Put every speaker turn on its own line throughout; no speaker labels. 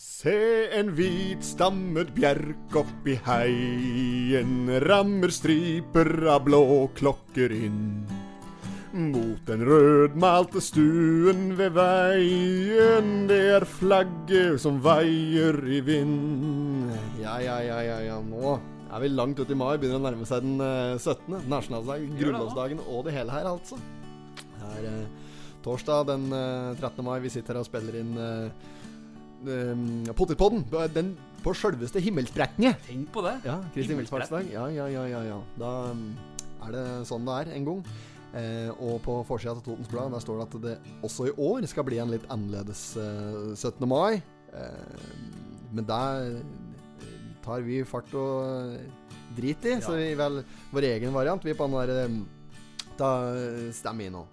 Se en hvitstammet bjerk oppi heien, rammer striper av blå klokker inn. Mot den rødmalte stuen ved veien, det er flagget som veier i vind. Ja, ja, ja, ja, ja, nå er vi langt ut i mai, begynner å nærme seg den eh, 17. nasjonaldagen,
Gjør det nå.
grunnlovsdagen og det hele her, altså. Det er eh, torsdag den eh, 13. mai, vi sitter her og spiller inn eh, eh, Potipodden. Den på sjølveste himmelsprekket.
Tenk på det.
Ja, Kristi
Himmelsprekk.
himmelfartsdag. Ja, ja, ja, ja, ja. Da mm, er det sånn det er en gang. Eh, og på forsida av Totens Blad der står det at det også i år skal bli en litt annerledes eh, 17. mai. Eh, men der eh, tar vi fart og eh, drit i, så vi vel vår egen variant. Vi på den der eh, Da eh, stemmer vi nå.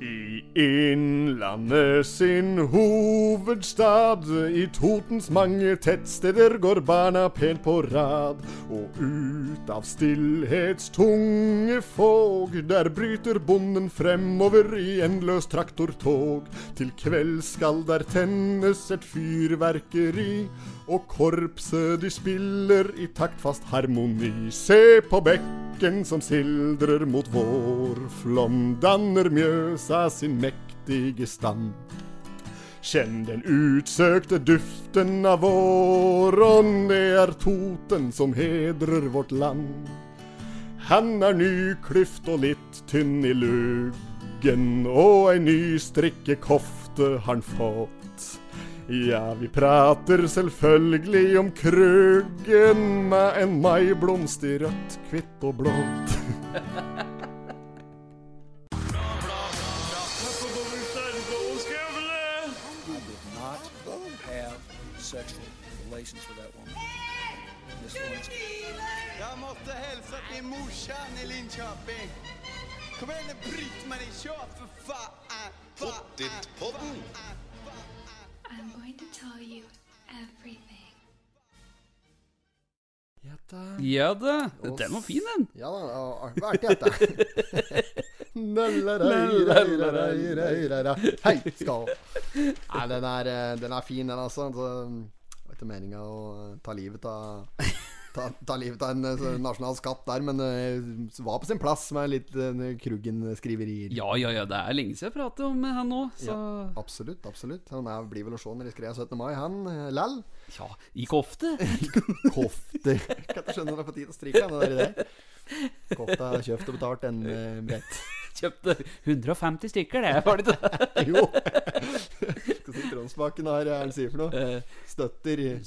I Innlandet sin hovedstad, i Totens mange tettsteder går barna pent på rad. Og ut av stillhetstunge fåg, der bryter bonden fremover i enløs traktortog. Til kveld skal der tennes et fyrverkeri, og korpset de spiller i taktfast harmoni. Se på bekk bekken som sildrer mot vår flom, danner Mjøsa sin mektige stam. Kjenn den utsøkte duften av våren, det er Toten som hedrer vårt land. Han er nyklyft og litt tynn i luggen, og ei nystrikkekofte han fått. Ja, vi prater selvfølgelig om krøggen med en maiblomst i rødt, hvitt og blått.
did not have sexual relations with that woman. Miss Lewinsky.
Jeg måtte hilse til morsan i Linköping. Kom igjen, Britt-Marie, kjør, for faen! Pottit-podden!
I'm going to tell you everything.
Ja da.
Ja da. Den var fin, den.
Ja da, og hva er det dette? Nallaraireirareirareira. Hei, skal. Nei, den er, eh, den er fin, den altså. Så, Det var ikke meninga å ta livet av Ta, ta livet av en eh, sånn nasjonal skatt der, men det var på sin plass med litt eh, Kruggen-skriverier.
Ja, ja, ja. Det er lenge siden jeg pratet om han nå, så
Absolutt, absolutt. Han er, blir vel å se når de skrev 17. mai, han. eh, Lell.
Ja, i kofte.
Kofte. Jeg kan ikke skjønne når det er på tide å stryke han, det der. i det. Kofta er kjøpt og betalt, den eh, brett.
Kjøpte 150 stykker, det. Var det ikke det?
Jo. Skal si Tronsbakken har hva er det han sier for noe.
Eh,
Støtter i, i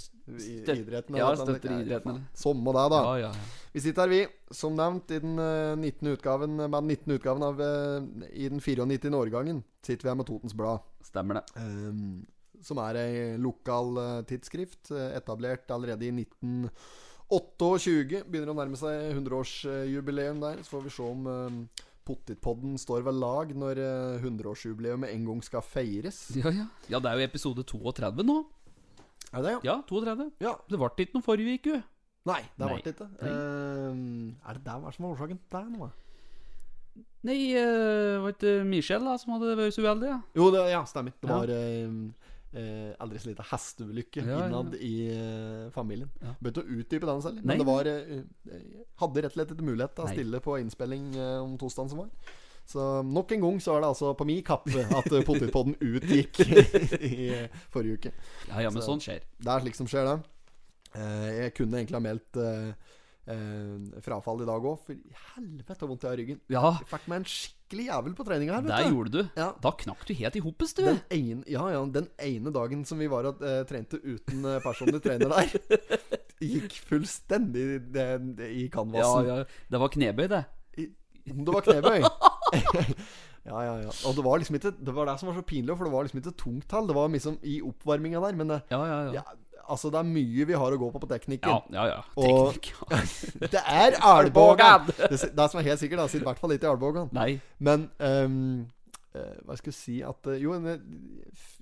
Støt-
idretten.
ja,
eller noe sånt.
støtter idretten, eller?
Samme det, da.
Ja, ja.
Vi sitter her, vi, som nevnt, i den eh, 19. utgaven med den 19. utgaven av eh, I den 94. årgangen sitter vi her med Totens Blad.
Stemmer det.
Ehm, som er ei lokal eh, tidsskrift, eh, etablert allerede i 1928. Begynner å nærme seg 100-årsjubileum der. Så får vi se om eh, Pottitpodden står ved lag når eh, 100-årsjubileet med en gang skal feires.
Ja, ja. ja, det er jo episode 32 nå.
Er det det,
Ja, 32.
Ja.
Det ble ikke noe forrige uke.
Nei, det
Nei.
ble det ikke.
Nei.
Ehm, er det det hva som var årsaken til det? nå, da?
Nei, eh, var ikke Michel da som hadde vært så uheldig? Ja.
Jo, det, ja, stemmer. Det
Ja.
var ehm, eh, aldri så lite hesteulykke
Ja, ja.
innad i eh, familien.
Ja.
Bør ikke utdype den selv,
Nei,
men det var eh, eh, Hadde rett og slett ikke mulighet til å
Nei.
stille på innspilling eh, om tosdagen som var. Så nok en gang så er det altså på min kappe at eh, potetpodden utgikk i eh, forrige uke.
Ja, ja, men
Så-
sånn skjer.
Det er slikt som skjer, det. Eh, jeg kunne egentlig ha meldt eh, eh, frafall i dag òg, for i helvete hvor vondt jeg har i ryggen.
Ja,
Jeg fikk meg en skikkelig jævel på treninga her,
der
vet du.
gjorde du.
Ja.
Da knakk du helt i hopes, du.
Den ene, ja, ja, den ene dagen som vi var og eh, trente uten eh, personlig trener der, gikk fullstendig i, det- det- i
Ja,
canvasen.
ja. sånn- Det var knebøy, det.
Om det var knebøy. ja, ja, ja. Og det var liksom ikke Det var det som var så pinlig, for det var liksom ikke tungtall. Det var liksom i oppvarminga der, men eh,
Ja, ja, ja.
ja, altså, det er mye vi har å gå på på
Ja,
teknikken.
ja, ja.
Og-
Teknikk. ja.
Det er Albogan!
Albogan!
Det, det som er helt sikkert, da, sitter i hvert fall ikke i Albogan.
Nei.
Men ehm, eh, hva skal jeg si at eh, Jo, jeg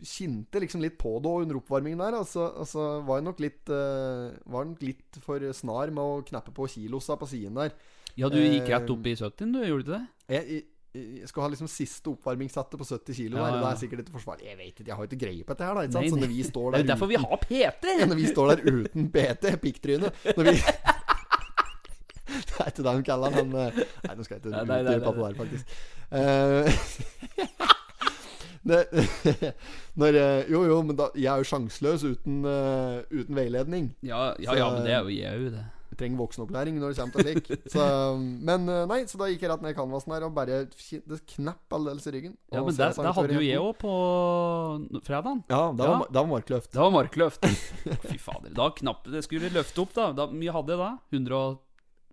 kjente liksom litt på det også under oppvarmingen der. Og så og så var jeg nok litt eh, Var nok litt for snar med å knappe på kilosa på siden der.
Eh, Ja, du gikk rett opp i 70, du. Gjorde du ikke det?
Jeg, jeg, eh, skal ha liksom siste oppvarmingssettet på 70 kilo
Ja,
der, og det
ja.
er sikkert ikke forsvarlig. Jeg vet ikke, jeg har ikke greie på dette her, da. Ikke sant?
Nei,
Så
nei.
når vi står
Det er
der
jo derfor vi har PT!
når vi står der uten PT, pikktryne Når vi Det er ikke det de kaller han men eh, Nei, nå skal jeg ikke
Nei, nei, nei,
utdype det
nei.
der, faktisk. Eh, det- når, eh, jo, jo, men da, jeg er jo sjanseløs uten, eh, uten veiledning.
Ja, ja, ja, men det er jo jeg òg, det.
Jeg trenger voksenopplæring når det kommer til slik. Så, men eh, nei, så da gikk jeg rett ned i canvasen her og bare ki- det knapp aldeles i ryggen.
Ja,
Og så
men det,
sang
det hadde
Tore
jo jeg
Jensen.
òg på fredagen.
Ja, det
Ja.
var, det var markløft.
Det var markløft. Fy fader. Da knapp det skulle løfte opp, da. da hvor mye hadde jeg da? 100 og,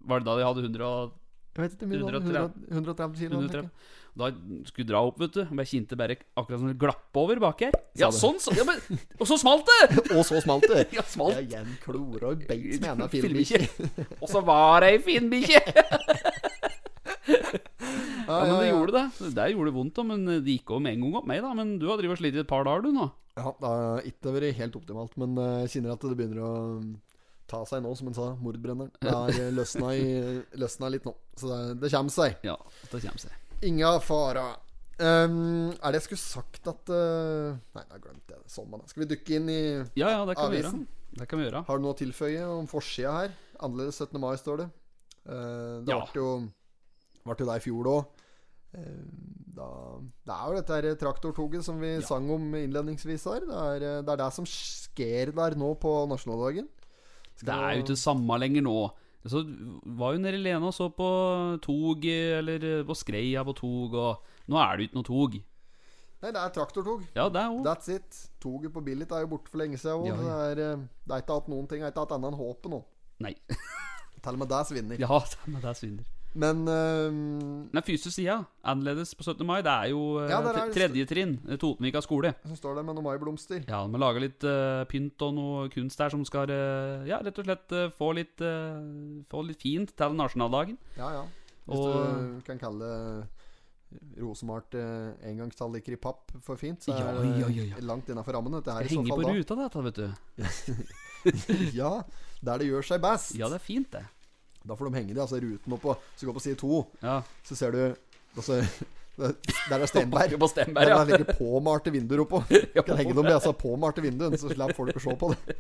var det da jeg hadde 100 og
Jeg vet ikke, mye,
130.
100 130 kilo. tenker jeg.
130? Da skulle jeg dra opp, vet du. Men jeg kjente bare akkurat som det glapp over bak her. Ja,
det.
sånn, så, ja, men, Og så smalt det!
Og så smalt det!
Ja, smalt.
Jeg er en klora og beit med en filmbikkje.
Filmbikkje. Og så var det ei fin bikkje! Ja, men det gjorde det. Det gjorde det vondt, da. Men det gikk over med en gang opp meg, da. Men du har drevet og slitt i et par dager, du, nå.
Ja, det har ikke vært helt optimalt, men eh, jeg kjenner at det begynner å mm, ta seg nå, som en sa, mordbrenneren. Det har eh, løsna, i, løsna litt nå, så det, det kommer seg.
Ja, det kommer seg.
Inga fara. Ehm, er det jeg skulle sagt at eh, Nei, jeg har glemt det. Sånn, man. Skal vi dykke inn i
Ja, ja, det kan vi gjøre.
Avisen?
Det kan vi gjøre.
Har du noe å tilføye om forsida her? Annerledes 17. mai, står det. Eh, det
Ja.
ble jo Ble jo der i fjor da. Eh, da. Det er jo dette her traktortoget som vi sang om innledningsvis her. Det er, eh, det er det som skjer der nå på nasjonaldagen.
Det er jo ikke samme lenger nå. Så var jo nede i Lena og så på tog, eller eh, på Skreia på tog, og nå er det jo ikke noe tog.
Nei, det er traktortog.
Ja, det er jo
That's it. Toget på Billit er jo borte for lenge siden. Og
Ja, ja.
Det, er, eh, det er ikke hatt noen ting. Det er ikke hatt annet enn håpet nå.
Nei.
Til og med det svinner.
Ja, men det er synder.
Men eh,
Den fysiske sida, annerledes på 17. mai, det er jo eh,
Ja, der er det-
tredje trinn, eh, Totenvika skole.
så står det med noen maiblomster.
Ja, de har laga litt eh, pynt og noe kunst der som skal eh, ja, rett og slett eh, få litt eh, Få litt fint til nasjonaldagen.
Ja, ja. Hvis
Og-
du kan kalle rosemalt eh, engangstallriker i papp for fint, så
Ja,
er det
ja, ja, ja.
langt innafor rammen. Dette her i så
Henge
fall da.
på ruta, dette, vet du.
Ja, der det gjør seg best.
Ja, det er fint, det.
Da får de henge det, altså ruten oppå. Så går på side to,
Ja.
så ser du altså, Der er Stenberg.
På Stenberg,
Der
ja.
det ligger påmalte vinduer oppå. Du kan henge dem med altså, påmalte vinduer, så slipper folk å se på det.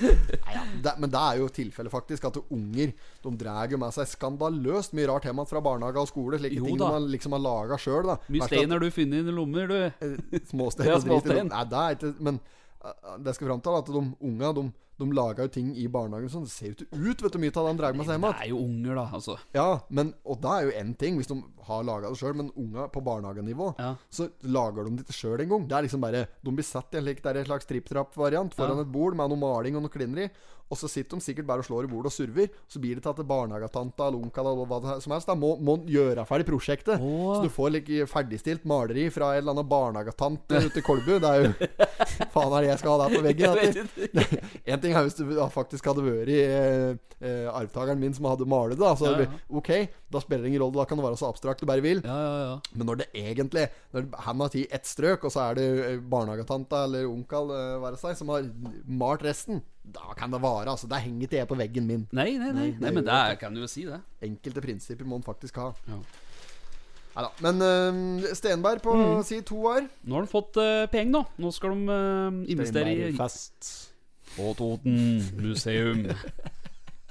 Nei, ja. det. Men det er jo tilfellet, faktisk, at unger de drar jo med seg skandaløst mye rart hjem igjen fra barnehage og skole. Slike
Jo
ting
da.
de har- liksom har laga sjøl.
Mye stein har du funnet i dine lommer, du.
Eh, Småstein
Ja,
og drit i
småstein.
dem. Nei, det er ikke Men eh, det skal fram til at de unga de, de laga jo ting i barnehagen sånn. Det ser jo ikke ut, vet du, mye av det de drar med seg hjem
Det
igjen.
er jo unger, da, altså.
Ja, men, og det er jo én ting, hvis de har laga det sjøl, men unga på barnehagenivå,
Ja.
så lager de det ikke sjøl engang. Det er liksom bare De blir satt i en slik Det er en slags tripp-trapp-variant foran
Ja.
et bord med noe maling og noe klinner i, og så sitter de sikkert bare og slår i bordet og surver, og så blir det til at barnehagetanta eller onkelen eller hva det er som helst da, må, må gjøre ferdig prosjektet.
Åh.
Så du får like ferdigstilt maleri fra en eller annen barnehagetant ute i Kolbu. Det er jo Faen er det jeg skal ha der på veggen?
Jeg
Etter.
vet ikke.
En ting er hvis du da faktisk hadde vært eh, eh, arvtakeren min som hadde malet det. da, Så
Ja, ja.
ok, da spiller det ingen rolle, da kan det være så abstrakt du bare vil.
Ja, ja, ja.
Men når det egentlig Når han har tatt ett strøk, og så er det eh, barnehagetanta eller onkel eh, være seg, som har malt resten, da kan det vare. Altså, det henger ikke jeg på veggen min.
Nei, nei, nei.
Nei,
nei
det
men
gjør
det
jeg
kan du jo si, det.
Enkelte prinsipper må en faktisk ha.
Ja.
Neida. Men eh, Stenberg på
Mm.
si to år.
Nå har de fått eh, penger, nå. Nå skal de eh, investere i
Fest.
På Toten museum.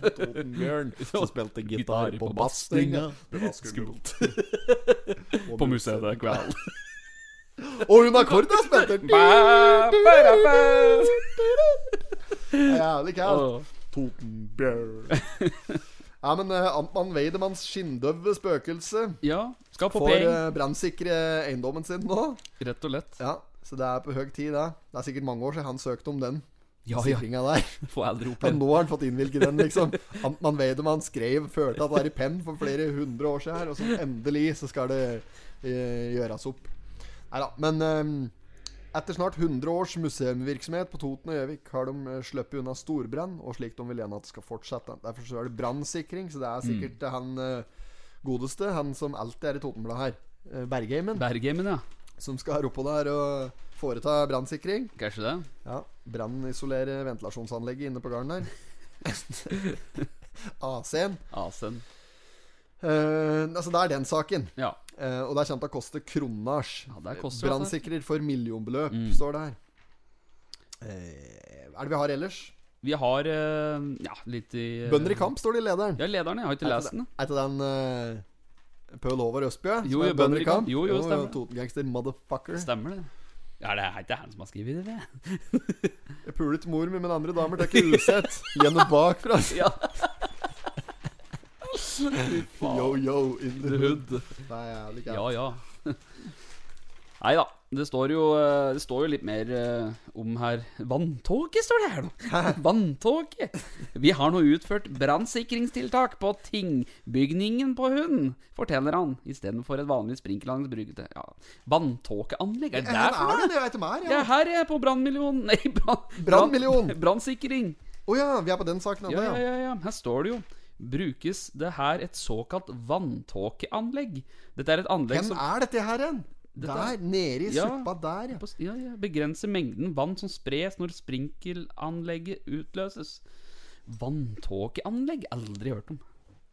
Totenbjørn som spilte gitar på bassstringa. Det var skummelt.
På museet i kveld.
Og hun akkorda spilte! Jævlig kælt.
Totenbjørn.
Ja, men eh, Amtmann Weidemanns skinndøve spøkelse
Ja, skal få
får
penger.
uh, brannsikre eiendommen sin nå.
Rett og lett.
Ja, Så det er på høy tid, det. Det er sikkert mange år siden han søkte om den
Ja, ja.
sikringa der.
Får aldri
Men
oppleve.
nå har han fått innvilget den, liksom. Amtmann Weidemann skrev, følte at det er i penn for flere hundre år siden her, og så endelig så skal det eh, gjøres opp. Nei da. Men eh, etter snart 100 års museumvirksomhet på Toten og Gjøvik har de eh, sluppet unna storbrann, og slik de vil gjerne at det skal fortsette. Derfor så er det brannsikring, så det er sikkert eh, han eh, godeste, han som alltid er i Totenbladet her, eh, Bergheimen,
Bergheimen, ja.
som skal her oppå der og foreta brannsikring.
Kanskje det.
Ja, brannisolere ventilasjonsanlegget inne på gården der. AC-en.
Asen.
Eh, altså, det er den saken.
Ja.
Eh, og det er kjent å koste kronasj.
Ja, det koster jo dette.
Brannsikrer for millionbeløp,
Mm.
står det her. Eh, er det vi har ellers?
Vi har eh, ja, litt i eh,
Bønder i kamp, står det i lederen.
Ja, lederen. Jeg har ikke
Er
lest den.
Er ikke den uh, Pøl Håvard Østbø? som
Jo,
er
jo, Bønder i kamp. Jo, jo, stemmer det.
Totengangster, motherfucker.
Stemmer det? Ja, det er ikke han som har skrevet det. det.
Jeg pulet mor mi, men andre damer tar ikke usett. Gjennom bakfra.
Ja.
Yo, yo, in the hood.
Hood.
Det er jævlig gærent.
Ja, ja. Nei da. Det står jo, eh, det står jo litt mer eh, om her. Vanntåke står det her nå. Vanntåke. Vi har nå utført brannsikringstiltak på tingbygningen på hunden, forteller han, istedenfor et vanlig sprinklangsbrygde. Ja. Vanntåkeanlegg, er det
Ja,
der
det
for
er det,
noe?
det veit de her,
Ja,
ja.
her er jeg på brannmillion Nei, brann-
Brannmillion.
brann- Brannsikring.
Å ja, vi er på den saken
Ja,
ennå,
ja,
ja.
ja, ja. Her står det jo. Brukes det her et såkalt vanntåkeanlegg? Dette er et anlegg
Hvem
som
er dette her hen?
Dette er-
Der, nede i
Ja.
suppa der, ja.
på, ja, ja, begrense mengden vann som spres når sprinkelanlegget utløses. Vanntåkeanlegg? Aldri hørt om.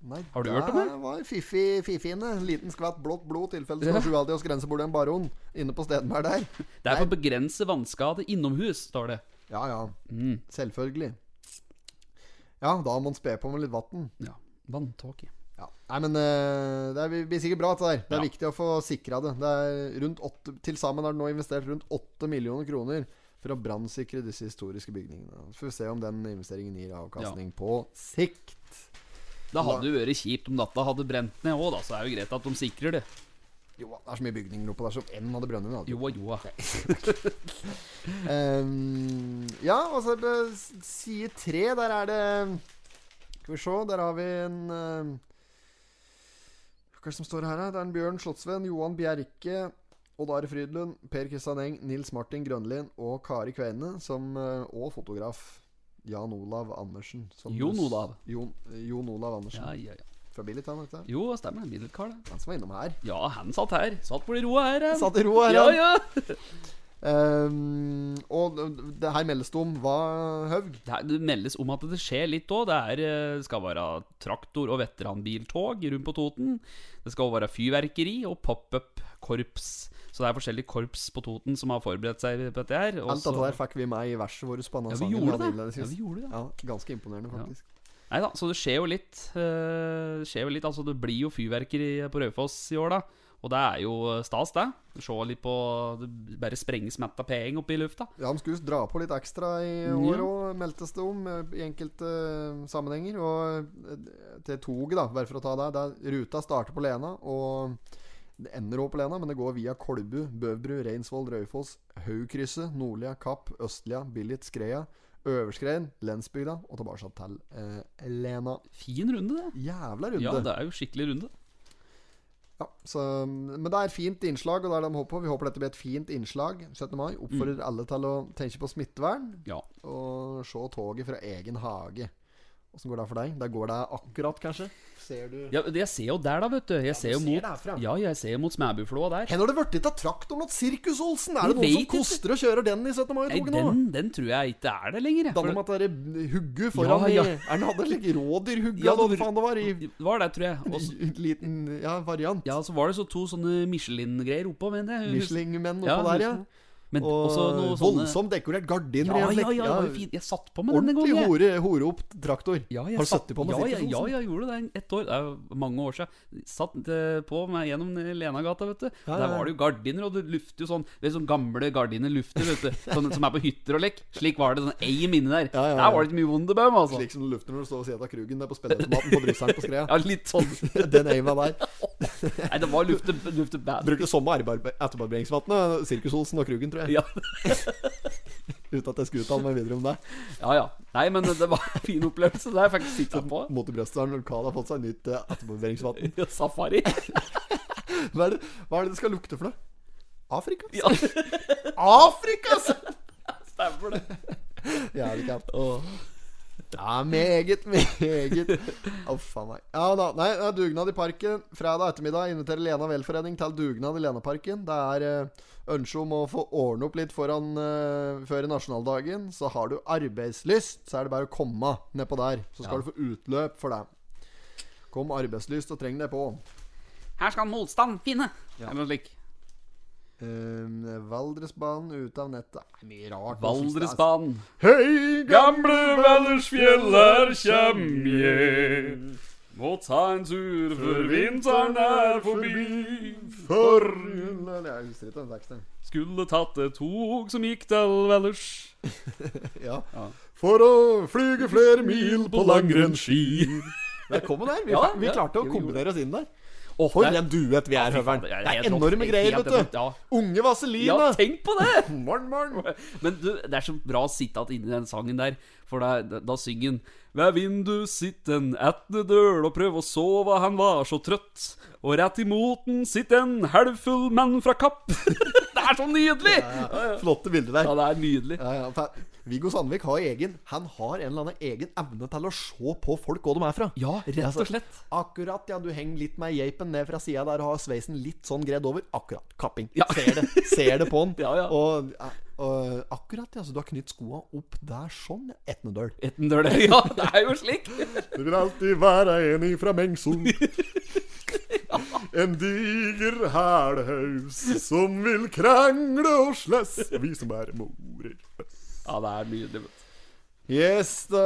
Nei,
Har du hørt om det?
Der var fiffig, fiffiene. En liten skvatt blått blod, tilfelle
Ja.
skal sju alltid hos grensebord en baron. Inne på Stedenberg der.
Det er for å begrense vannskade innomhus, står det.
Ja ja,
Mm.
selvfølgelig. Ja, da må en spe på med litt vann.
Ja, Vanntåke.
Ja. Nei, men eh, det er, blir sikkert bra, dette der. Det er
Ja.
viktig å få sikra det. det er rundt åtte, til sammen er det nå investert rundt 8 millioner kroner for å brannsikre disse historiske bygningene. Så får vi se om den investeringen gir avkastning på sikt.
Det hadde jo vært kjipt om dette hadde brent ned òg, da. Så er det jo greit at de sikrer det.
Jo, det er så mye bygninger oppå der som enn hadde brønnet. altså. hadde
Joa, joa.
Ehm, ja, og så er det side tre, der er det Skal vi se, der har vi en ehm, Hva er det som står her, da? Det er en Bjørn Slottsveen, Johan Bjerke, Odd Are Frydlund, Per Kristian Eng, Nils Martin Grønlin og Kari Kveine, som, eh, og fotograf Jan Olav Andersen. som-
Jon Olav.
Jon, Jon Olav Andersen.
Ja, ja, ja.
Fra Billit, han, vet du.
Jo, stemmer det. Middelkar, det.
Han som var innom her.
Ja, han satt her. Satt på de roa her. han.
Satt i ro her,
Ja,
han.
ja.
Ehm, og det- det her meldes det om hva, Høvg?
Det, er, det meldes om at det skjer litt òg. Det er, eh, skal være traktor- og veteranbiltog rundt på Toten. Det skal også være fyrverkeri og pop-up-korps. Så det er forskjellige korps på Toten som har forberedt seg på dette her. og
Alt dette
så-
der fikk vi med i verset vårt på denne
ja, vi
sangen
gjorde det.
hadde innledet
Ja,
sist.
vi gjorde det.
Ja, ganske imponerende, faktisk.
Nei da, så det skjer jo litt. eh, skjer jo litt, altså Det blir jo fyrverkeri på Raufoss i år, da. Og det er jo eh, stas, det. Se litt på Det bare sprenges mett av penger opp i lufta.
Ja, De skulle dra på litt ekstra i år òg, meldtes det om eh, i enkelte eh, sammenhenger. Og eh, til toget, da, bare for å ta det, der ruta starter på Lena, og det ender òg på Lena, men det går via Kolbu, Bøvbru, Reinsvoll, Raufoss, Haugkrysset, Nordlia, Kapp, Østlia, Billit, Skreia, Øverskrein, Lensbygda og tilbake til eh, Lena.
Fin runde, det.
Jævla runde.
Ja, det er jo skikkelig runde.
Ja, så, men det er et fint innslag, og det er det de håper på. Vi håper dette blir et fint innslag 17. mai. Oppfordrer
Mm.
alle til å tenke på smittevern
Ja.
og se toget fra egen hage. Åssen går det for deg? Der går det akkurat, kanskje? Ser du
Ja, det- jeg ser jo der, da, vet du. Jeg ser jo
ser
mot,
det herfra.
ja, jeg ser jo mot Smæbuflåa der.
Hen har det blitt av traktoren til Sirkus Olsen? Er
Jeg
det noen som
vet ikke.
koster og kjører den i 17.
Nei,
mai-toget nå?
den, den tror jeg ikke er det lenger.
Danner
jeg. For
om at det er hugget foran
Ja, ja.
i Er den hadde like rådyrhugge,
Ja,
eller hva
det
faen det var? I
det var det, tror jeg. Og så-
i liten ja, variant.
ja, så var det så to sånne Michelin-greier oppå, mener jeg.
Michelin-menn oppå
Ja,
der, ja.
Michelin. Men
Og
også noe sånne
voldsomt dekorert gardiner.
Ja,
i en
ja,
vekk-
ja, det var jo fint. Jeg satt på med den en gang.
Ordentlig
jeg.
hore, horeopp traktor.
Ja, jeg
Har du
satt-
sittet på sånn med
ja,
Sirkus
jeg- Ja,
Olsen?
jeg gjorde det i ett år. Det er jo mange år siden. Satt eh, på meg gjennom Lenagata, vet du.
Ja, ja,
Der
ja.
var det jo gardiner, og det lufter jo sånn Det er sånn gamle gardiner lufter, vet du. Sånn, som er på hytter og lekk. Slik var det sånn ei minne der.
Ja, ja, ja.
Der var det ikke mye Wunderbaum, altså.
Slik som det lufter når du står ved siden av Krugen der på spillermaten på Brysselen på Skrea.
Ja, litt sånn.
Den aima der.
Nei, det var lufte, lufte bad.
Brukte samme arbeid- etterbarberingsvannet, Sirkus Olsen og Krugen, tror jeg.
Ja.
Uten at jeg skulle uttale meg videre om det.
ja, ja. Nei, men det var en fin opplevelse. Det har jeg faktisk sitta på.
Mot i brøstet har Karl har fått seg nytt eh, etterbarberingsvann.
Ja, Safari.
Hva, er det- hva er det det skal lukte for noe? Afrika?
Ja,
Afrika, altså!
stemmer det.
Jævlig kjapt.
Åh.
Ja, meget, meget. Å, faen meg. Ja da. Nei, det er dugnad i parken. Fredag ettermiddag inviterer Lena velforening til dugnad i Lenaparken. Det er eh, ønske om å få ordne opp litt foran, eh, før nasjonaldagen. Så har du arbeidslyst, så er det bare å komme nedpå der. Så skal
Ja.
du få utløp for det. Kom arbeidslyst og treng deg på.
Her skal motstand finne!
Ja.
Eller noe slik.
Eh, Valdresbanen ute av nettet. Det er Mye rart.
Valdresbanen.
Hei,
Gamle Valdersfjeller kjem jeg. Må ta en tur før vinteren er forbi.
for Jeg husker ikke den teksten.
Skulle tatt et tog som gikk til Valdres.
Ja.
Ja.
For å flyge flere mil på langrennsski. Velkommen der. Vi,
Ja,
vi
ja.
klarte å
Jo, vi gjorde
kombinere oss inn der. For en duett vi er, Høveren. Det er enorme greier, vet du.
Ja,
Unge
ja
Vaselina.
tenk på det!
Morn, morn.
Men du, det er så bra sitat inni den sangen der, for da, da synger han Ved vindu sitten etne døl og prøv å sove, han var så trøtt. Og rett imot den sitter en halvfull mann fra Kapp. det er så nydelig!
Flotte bilder der.
Ja, det er nydelig.
Ja, ja, fa- Viggo Sandvik har egen Han har en eller annen egen evne til å se på folk hvor de er fra.
Ja, rett
Altså,
og slett.
Akkurat, ja. Du henger litt med geipen ned fra sida der og har sveisen litt sånn gredd over. Akkurat. Kapping.
Ja.
Ser det ser det på han.
Ja, ja.
Og, og akkurat, ja. Så du har knytt skoa opp der sånn. Etnedøl.
Etten døl, ja, det er jo slik.
Det vil alltid være en ifra Mengsund. En diger hælhaus som vil krangle og slåss, vi som er morer.
Ja, det er nydelig. vet du.
Yes, da.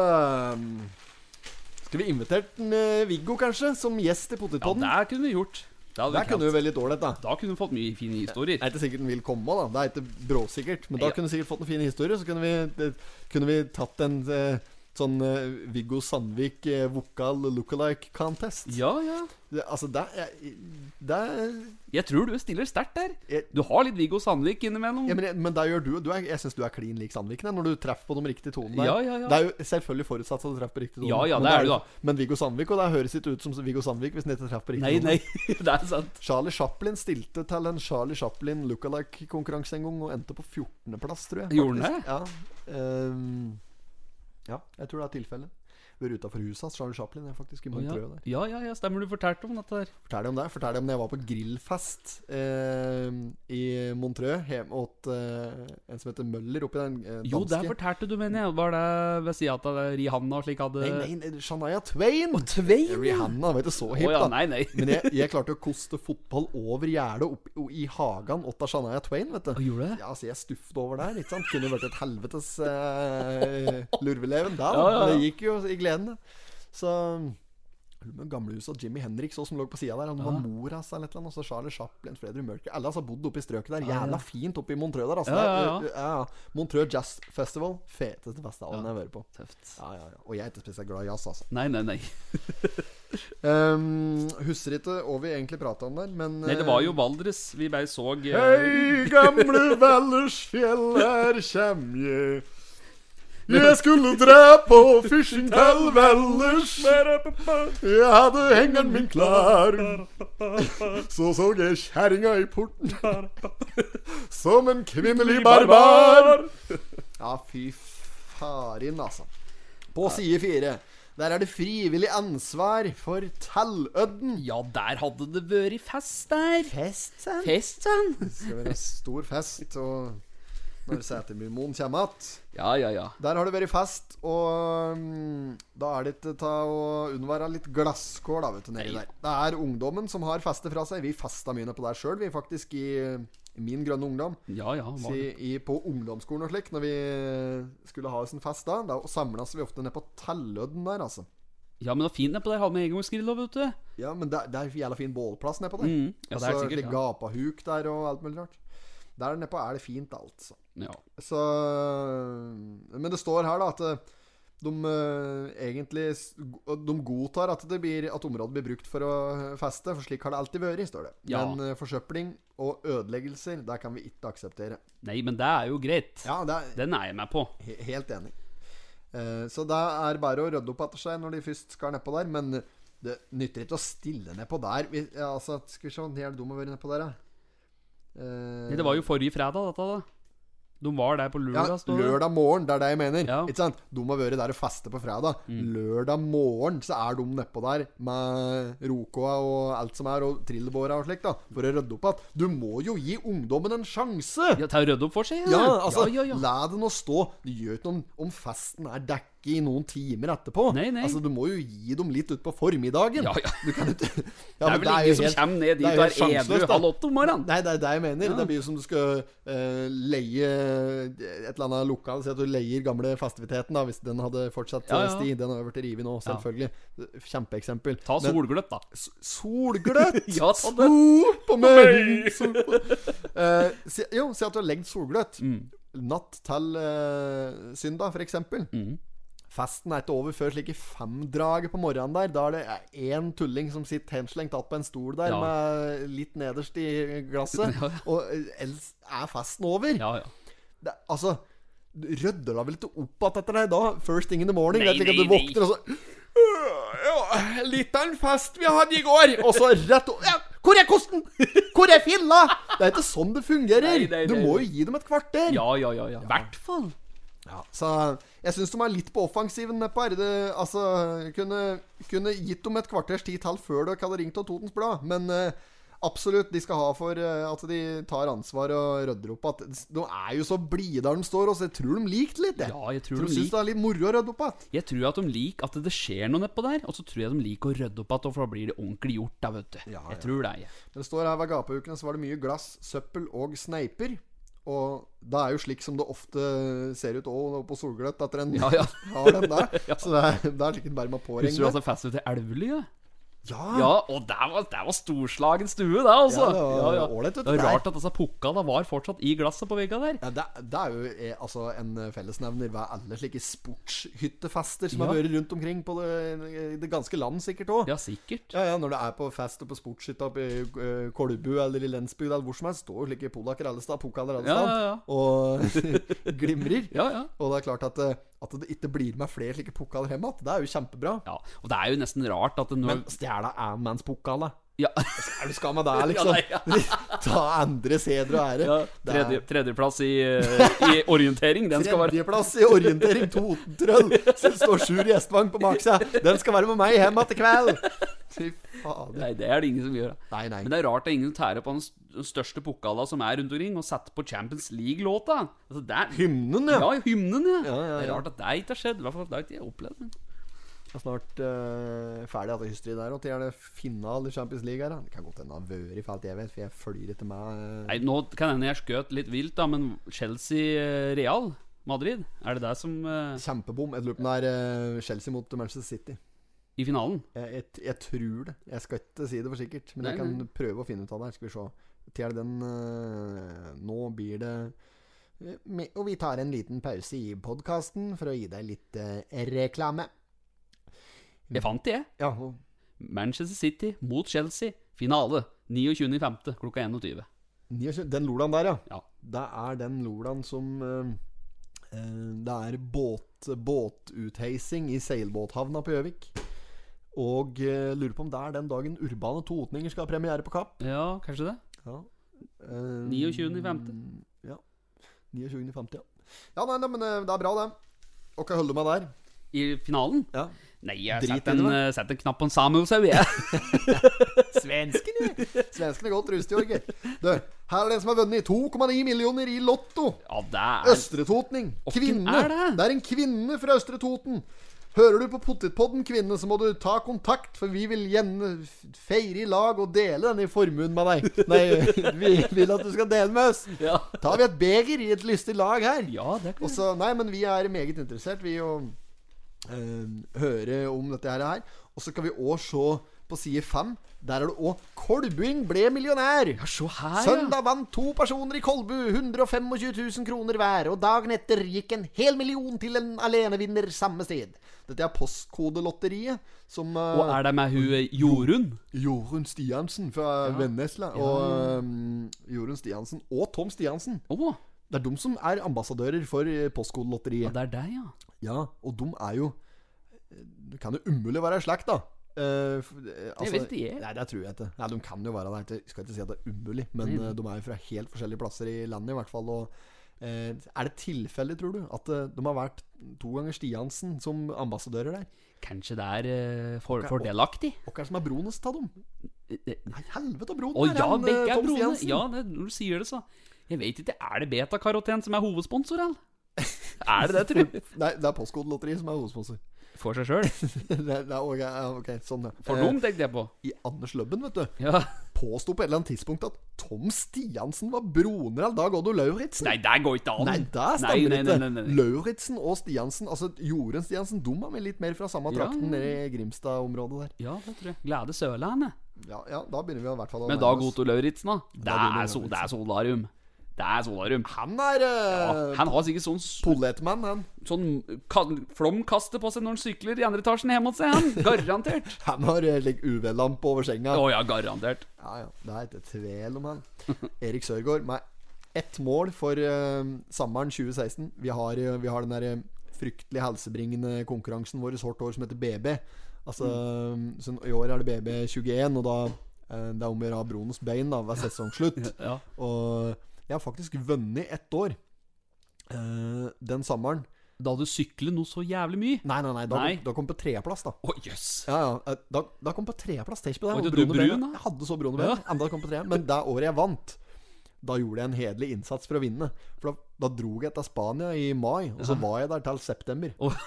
Skal vi invitert den, eh, Viggo, kanskje, som gjest i
Ja,
Potetpodden?
det kunne vi gjort. Det hadde vi
der kunne
kalt.
vi vært litt ålreit, da.
Da kunne vi fått mye fine
Det er
historier.
ikke sikkert den vil komme, da. Det er ikke bråsikkert. Men da
Ja.
kunne vi sikkert fått noen fine historier. Så kunne vi, det- kunne vi tatt en eh, sånn eh, Viggo Sandvik eh, vokal lookalike contest.
Ja, ja.
Det, altså, det er Det er
Jeg tror du stiller sterkt der.
jeg,
Du har litt Viggo Sandvik innimellom.
ja, men, jeg, men det gjør du. du er, jeg syns du er klin lik Sandviken jeg, når du treffer på de riktige tonene. der.
Ja, ja, ja.
Det er jo selvfølgelig forutsatt at du treffer på riktig tone.
Ja, ja,
men
det er du da.
Men Viggo Sandvik, og det høres ikke ut som Viggo Sandvik hvis han ikke treffer på riktig
Nei,
tone.
nei, det er sant.
Charlie Chaplin stilte til en Charlie Chaplin lookalike-konkurranse en gang og endte på 14.-plass, tror jeg.
Gjorde
faktisk.
han det?
Ja, ehm, ja, jeg tror det er tilfellet. Vært utafor huset hans, Charlie Chaplin. Jeg faktisk i
Å, ja.
Montreux der.
ja, ja, ja, stemmer du fortalte om dette der.
Fortell deg om det. Fortell deg om da jeg var på grillfest eh, i Montreux hjemme åt eh, en som heter Møller, oppi den eh, danske
Jo, der fortalte du, mener jeg. Var det ved sida av det Rihanna og slik hadde
Nei, nei, nei, Shania Twain!
Tvein?
Rihanna var ikke så
Å
hipp,
ja,
da.
nei, nei.
Men jeg, jeg klarte å koste fotball over gjerdet opp i- i hagen åt av Shania Twain, vet
Å,
du.
gjorde du det?
Ja, altså, jeg stuffet over der, ikke sant. Kunne vært et helvetes eh, lurveleven der,
Ja, ja, ja.
men det gikk jo i gleden, det. Så med gamlehuset og Jimmy Henrik så, som lå på sida der. Han var mora hans eller et eller annet. Og så Charlie Chaplin, Fredrik Mørker Alle altså bodde oppe i strøket der. Jævla fint oppe i Montreux der. Altså,
Ja, ja, ja.
Det er- ja, ja. Montreux Jazz Festival. Feteste festivalen jeg har vært på.
Tøft.
Ja, ja, ja. Og jeg er ikke spesielt glad i jazz, altså.
Nei, nei, nei.
Um, husker ikke hva vi egentlig prata om der, men eh,
Nei, det var jo Valdres. Vi bare så eh,
Hei, gamle Vallersfjell, her kjem jeg. Jeg skulle dra på fishing til Valdres. Jeg hadde hengeren min klar. Så så jeg kjerringa i porten. Som en kvinnelig barbar. Ja, fy farin, altså. På side fire. Der er det frivillig ansvar for tallødden.
Ja, der hadde det vært fest der.
Fest, sant?
Fest, sånn.
Det skal være stor fest, og når Setermyrmoen kommer att
Ja, ja, ja.
Der har det vært fest, og mm, da er det ikke ta å unnvære litt glasskår, da, vet du, nedi der. Det er ungdommen som har festet fra seg. Vi festa mye ned på der sjøl, vi, faktisk, i eh, min grønne ungdom.
Ja, ja. Var
Si,
det.
i, på ungdomsskolen og slik, når vi skulle ha oss en fest da, da samles vi ofte ned på Tellødden der, altså.
Ja, men det var fint nedpå der. Hadde med engangsgrill òg, vet du.
Ja, men det, det er jævla fin bålplass nedpå der.
Mm, ja, det er det
altså,
sikkert,
litt
ja.
gapahuk der og alt mulig rart. Der nedpå er det fint, altså.
Ja.
Så Men det står her, da, at eh, de eh, egentlig s- go- De godtar at, det blir, at området blir brukt for å eh, feste, for slik har det alltid vært, står det.
Ja.
Men eh, forsøpling og ødeleggelser, det kan vi ikke akseptere.
Nei, men det er jo greit.
Ja, det er
Den er jeg med på.
he- helt enig. Eh, Så det er bare å rydde opp etter seg når de først skal nedpå der, men det nytter ikke å stille nedpå der. Vi, ja, altså, skal vi se, hvor jævlig dum å være nedpå der, da. Eh,
Nei, det var jo forrige fredag, dette, da. De var der på
Ja,
lørdag. står det.
lørdag morgen, det er det jeg mener.
Ja. Mm.
Ikke sant? De har vært der og festa på fredag. Lørdag morgen så er de nedpå der med rokoa og alt som er, og trillebåra og slikt, da, for å rydde opp igjen. Du må jo gi ungdommen en sjanse!
Ja, ta og rydde opp for seg.
Ja, altså,
ja, ja, ja.
la den å stå. Det gjør ikke noe om- om festen er dekket ikke i noen timer etterpå.
Nei, nei.
Altså, du må jo gi dem litt utpå formiddagen.
Ja, ja.
Du kan jo ikke
Det
Ja,
er
men
vel ingen
jo
som
helt-
kommer ned
det er
dit
jo
og
helt
er edru
sjanseløst, da.
halv åtte om morgenen.
Nei, det er det jeg mener.
Ja.
Det blir jo som du skal eh, leie et eller annet lokal Si at du leier gamle festiviteten, da, hvis den hadde fortsatt
Ja,
eh,
ja.
sti. Den har jo blitt revet nå,
Ja.
selvfølgelig. Kjempeeksempel.
Ta
Men-
solgløtt, da.
S- Solgløtt!
Ja, ta det.
Sol på meg! Sol på Eh, si, jo, si at du har legd solgløtt.
Mm.
Natt til eh, søndag, for eksempel.
Mm.
Festen er ikke over før slike femdraget på morgenen der. Da er det én tulling som sitter henslengt att på en stol der,
Ja.
med litt nederst i glasset.
Ja, ja.
Og eh, ellers er festen over.
Ja, ja.
Det, altså du Rydder da vel ikke opp igjen etter deg da? First thing in the morning.
Nei,
vet du ikke,
nei,
du
nei.
våkner og så «Øh, ja, Litt av en fest vi hadde i går! Og så rett over ja, Hvor er kosten? Hvor er filla? Det er ikke sånn det fungerer.
Nei, nei,
du
nei,
må
nei.
jo gi dem et kvarter.
Ja, ja, ja. ja. Hvert fall.
Ja, Så jeg syns de er litt på offensiven nedpå her. Det- Altså, kunne, kunne gitt dem et kvarters tid til før dere hadde ringt av Totens Blad, men eh, Absolutt, de skal ha for eh, at de tar ansvar og rydder opp at De er jo så blide der de står, og så jeg tror de likte litt, jeg.
Ja, jeg tror,
Tror
de
du syns
liker
det er litt moro å rydde opp igjen?
Jeg tror at de liker at det skjer noe nedpå der, og så tror jeg de liker å rydde opp igjen, for da blir det ordentlig gjort, da, vet du. Jeg tror det. jeg.
Det står her ved gapehukene så var det mye glass, søppel og sneiper. Og det er jo slik som det ofte ser ut òg på Solgløtt, etter en
Ja, ja.
har den der. Så det er, det er sikkert bare med påring.
Husker du altså festen til Elvely? Ja?
Ja,
ja, og der var, der var storslagen stue, det, altså.
Ah. Ja, det var ålreit, vet du,
Det var
der.
rart at disse pukkene var fortsatt i glasset på vegga der.
Ja, det, det er jo eh, altså, en fellesnevner ved alle slike sportshyttefester som har
Ja.
vært rundt omkring på det, i det ganske land, sikkert òg.
Ja, sikkert.
Ja, ja, når du er på fest og på sportshytta oppe i eh, Kolbu eller i Lensbygd eller hvor som helst, står jo slike polakker alle steder, pokaler alle
Ja,
steder,
ja, ja.
og glimrer.
Ja, ja.
Og det er klart at, eh, at det ikke blir med flere slike pokaler hjemme igjen. Det er jo kjempebra.
Ja, og det er jo nesten rart at det nå
Men stjela Anmans-pokala
ja,
Er du skam av deg, liksom?
Ja,
Ta andres heder og ære.
ja,
Det er
tredje, Tredjeplass i, eh, i orientering, den skal være
Tredjeplass i orientering Totentrøll. Så det står Sjur Gjestvang på baksida. Den skal være med meg hjem igjen i kveld. Fy fader.
Nei, det er det ingen som gjør. da.
Nei, nei.
Men det er rart det er ingen som tærer på den st- den største pokala som er rundt omkring, og setter på Champions League-låta. Altså, det er
Hymnen,
Ja,
ja.
hymnen, ja.
Ja, ja,
Det er
ja.
rart at det ikke har skjedd. I hvert fall det har ikke jeg opplevd. men-
Det er Snart eh, ferdig at det hysteri der. Og til er det finale i Champions League her. da. Det kan godt hende han har vært, for alt jeg vet, for jeg følger etter meg. eh.
Nei, nå kan hende jeg skjøt litt vilt, da, men Chelsea-Real Madrid, er det det som eh,
Kjempebom. Jeg lurer på om det er eh, Chelsea mot Manchester City.
I finalen?
Jeg, jeg, jeg tror det. Jeg skal ikke si det for sikkert, men jeg
Nei,
kan
nei.
prøve å finne ut av det. her. Skal vi se. Til er det den eh, Nå blir det eh, me- Og vi tar en liten pause i podkasten for å gi deg litt eh, reklame.
Jeg fant det, jeg.
Ja, og-
Manchester City mot Chelsea. Finale 29.5. klokka 21.
29 den lolaen der, ja.
Ja.
Det er den lolaen som eh, eh, Det er båt, båtutheising i seilbåthavna på Gjøvik. Og eh, lurer på om det er den dagen Urbane Totninger skal ha premiere på Kapp. Eh,
Ja, kanskje det?
Ja.
29.5..
Ja. 29.5., ja. Ja, nei, nei, men eh, det er bra, det. Og hva holder du med der?
I finalen?
Ja.
Nei, jeg
Drit i
setter en,
det, da.
eh, setter en knapp på en Samuelshaug, jeg.
Svenskene! Svenskene er godt rustet, Jorger. Du, her er det en som har vunnet 2,9 millioner i Lotto.
Ja, det er
Østretotning.
Åkken
Kvinne.
er det?
er en kvinne fra Østre Toten. Hører du på Pottitpodden, kvinne, så må du ta kontakt, for vi vil gjerne f- feire i lag og dele denne formuen med deg. Nei, vi vil at du skal dele med oss.
Ja,
Tar vi et beger i et lystig lag her?
ja det kan
Og så, nei, men vi er meget interessert Vi å eh, høre om dette her, her. Og så kan vi òg se på side fem. Der er det òg 'Kolbuing ble millionær'.
Ja, se her, ja.
Søndag vant to personer i Kolbu 125 000 kroner hver, og dagen etter gikk en hel million til en alenevinner samme sted. Dette er Postkodelotteriet, som eh,
Og er det med hun eh, Jorunn?
Jorunn Stiansen fra Vennesla. Og um, Jorunn Stiansen og Tom Stiansen.
Å,
Det er de som er ambassadører for eh, Postkodelotteriet.
ja, det er deg, ja.
Ja, og de er jo Det kan jo umulig være i slekt, da. Eh, f- eh,
vet ikke jeg.
Nei, det tror jeg ikke. Nei, De kan jo være det. Jeg skal ikke si at det er umulig, men eh, de er jo fra helt forskjellige plasser i landet, i hvert fall. Og eh, er det tilfeldig, tror du, at eh, de har vært to ganger Stiansen som ambassadører der?
Kanskje det er eh, for, fordelaktig?
Og hva er det som er bronest av dem? Nei, helvete, bronen
Eh, Å ja,
han, eh,
begge er
Tom
broene.
Stiansen.
Ja, det, når du sier det, så. Jeg vet ikke. Er det betakaroten som er hovedsponsor, eller? Er det det, tru?
Nei, det er Postkodelotteriet som er hovedsponsor.
For seg sjøl.
det, er- det er, ok, ja, ok, sånn, ja.
For
Eh,
dem tenkte jeg på.
I Anders Løbben, vet du,
Ja.
påsto på et eller annet tidspunkt at Tom Stiansen var broner av Dag Oddo Lauritzen.
Nei, det går ikke an.
Nei, det stemmer
Nei, nei,
ikke.
nei, nei, nei.
Lauritzen og Stiansen, altså Jorunn Stiansen, de er vel litt mer fra samme
Ja.
trakten nede i Grimstad-området der.
Ja, det tror jeg. Glade Sørlandet.
Ja, ja, da begynner vi i hvert fall å
Men
nærme
Dag
oss.
Otto Lauritzen, da. Det
Dag Otto
er, so det er solarium. Det er solarium.
Han er
Ja,
uh,
han har sikkert sånn, s-
poletmann, han.
sånn ka- flomkaste på seg når han sykler i andre etasjen hjemme hos seg, han. Garantert.
Han har uh, ligg UV-lampe over senga.
Å ja, garantert.
Ja, ja, det er ikke tvil om han. Erik Sørgaard med ett mål for eh, sommeren 2016. Vi har, eh, vi har den der eh, fryktelig helsebringende konkurransen vår hvert år som heter BB. Altså, så I år er det BB21, og da eh, det er om å gjøre å ha Bronos bein da, ved sesongslutt.
Ja.
Og jeg har faktisk vunnet ett år. Eh, den sommeren
Da du sykler noe så jævlig mye.
Nei, nei, nei. Da,
Nei.
da kom på treplass, da.
Å jøss.
Ja, ja. eh, Da, da kom på treplass. Tenk på det.
Oi,
og
du- du
brune
brun,
ben.
da?
Jeg hadde så brune ben.
Ja.
Enda kom på tre. Men det året jeg vant, da gjorde jeg en hederlig innsats for å vinne. For da, da dro jeg til Spania i mai, og så var jeg der til september.
Å.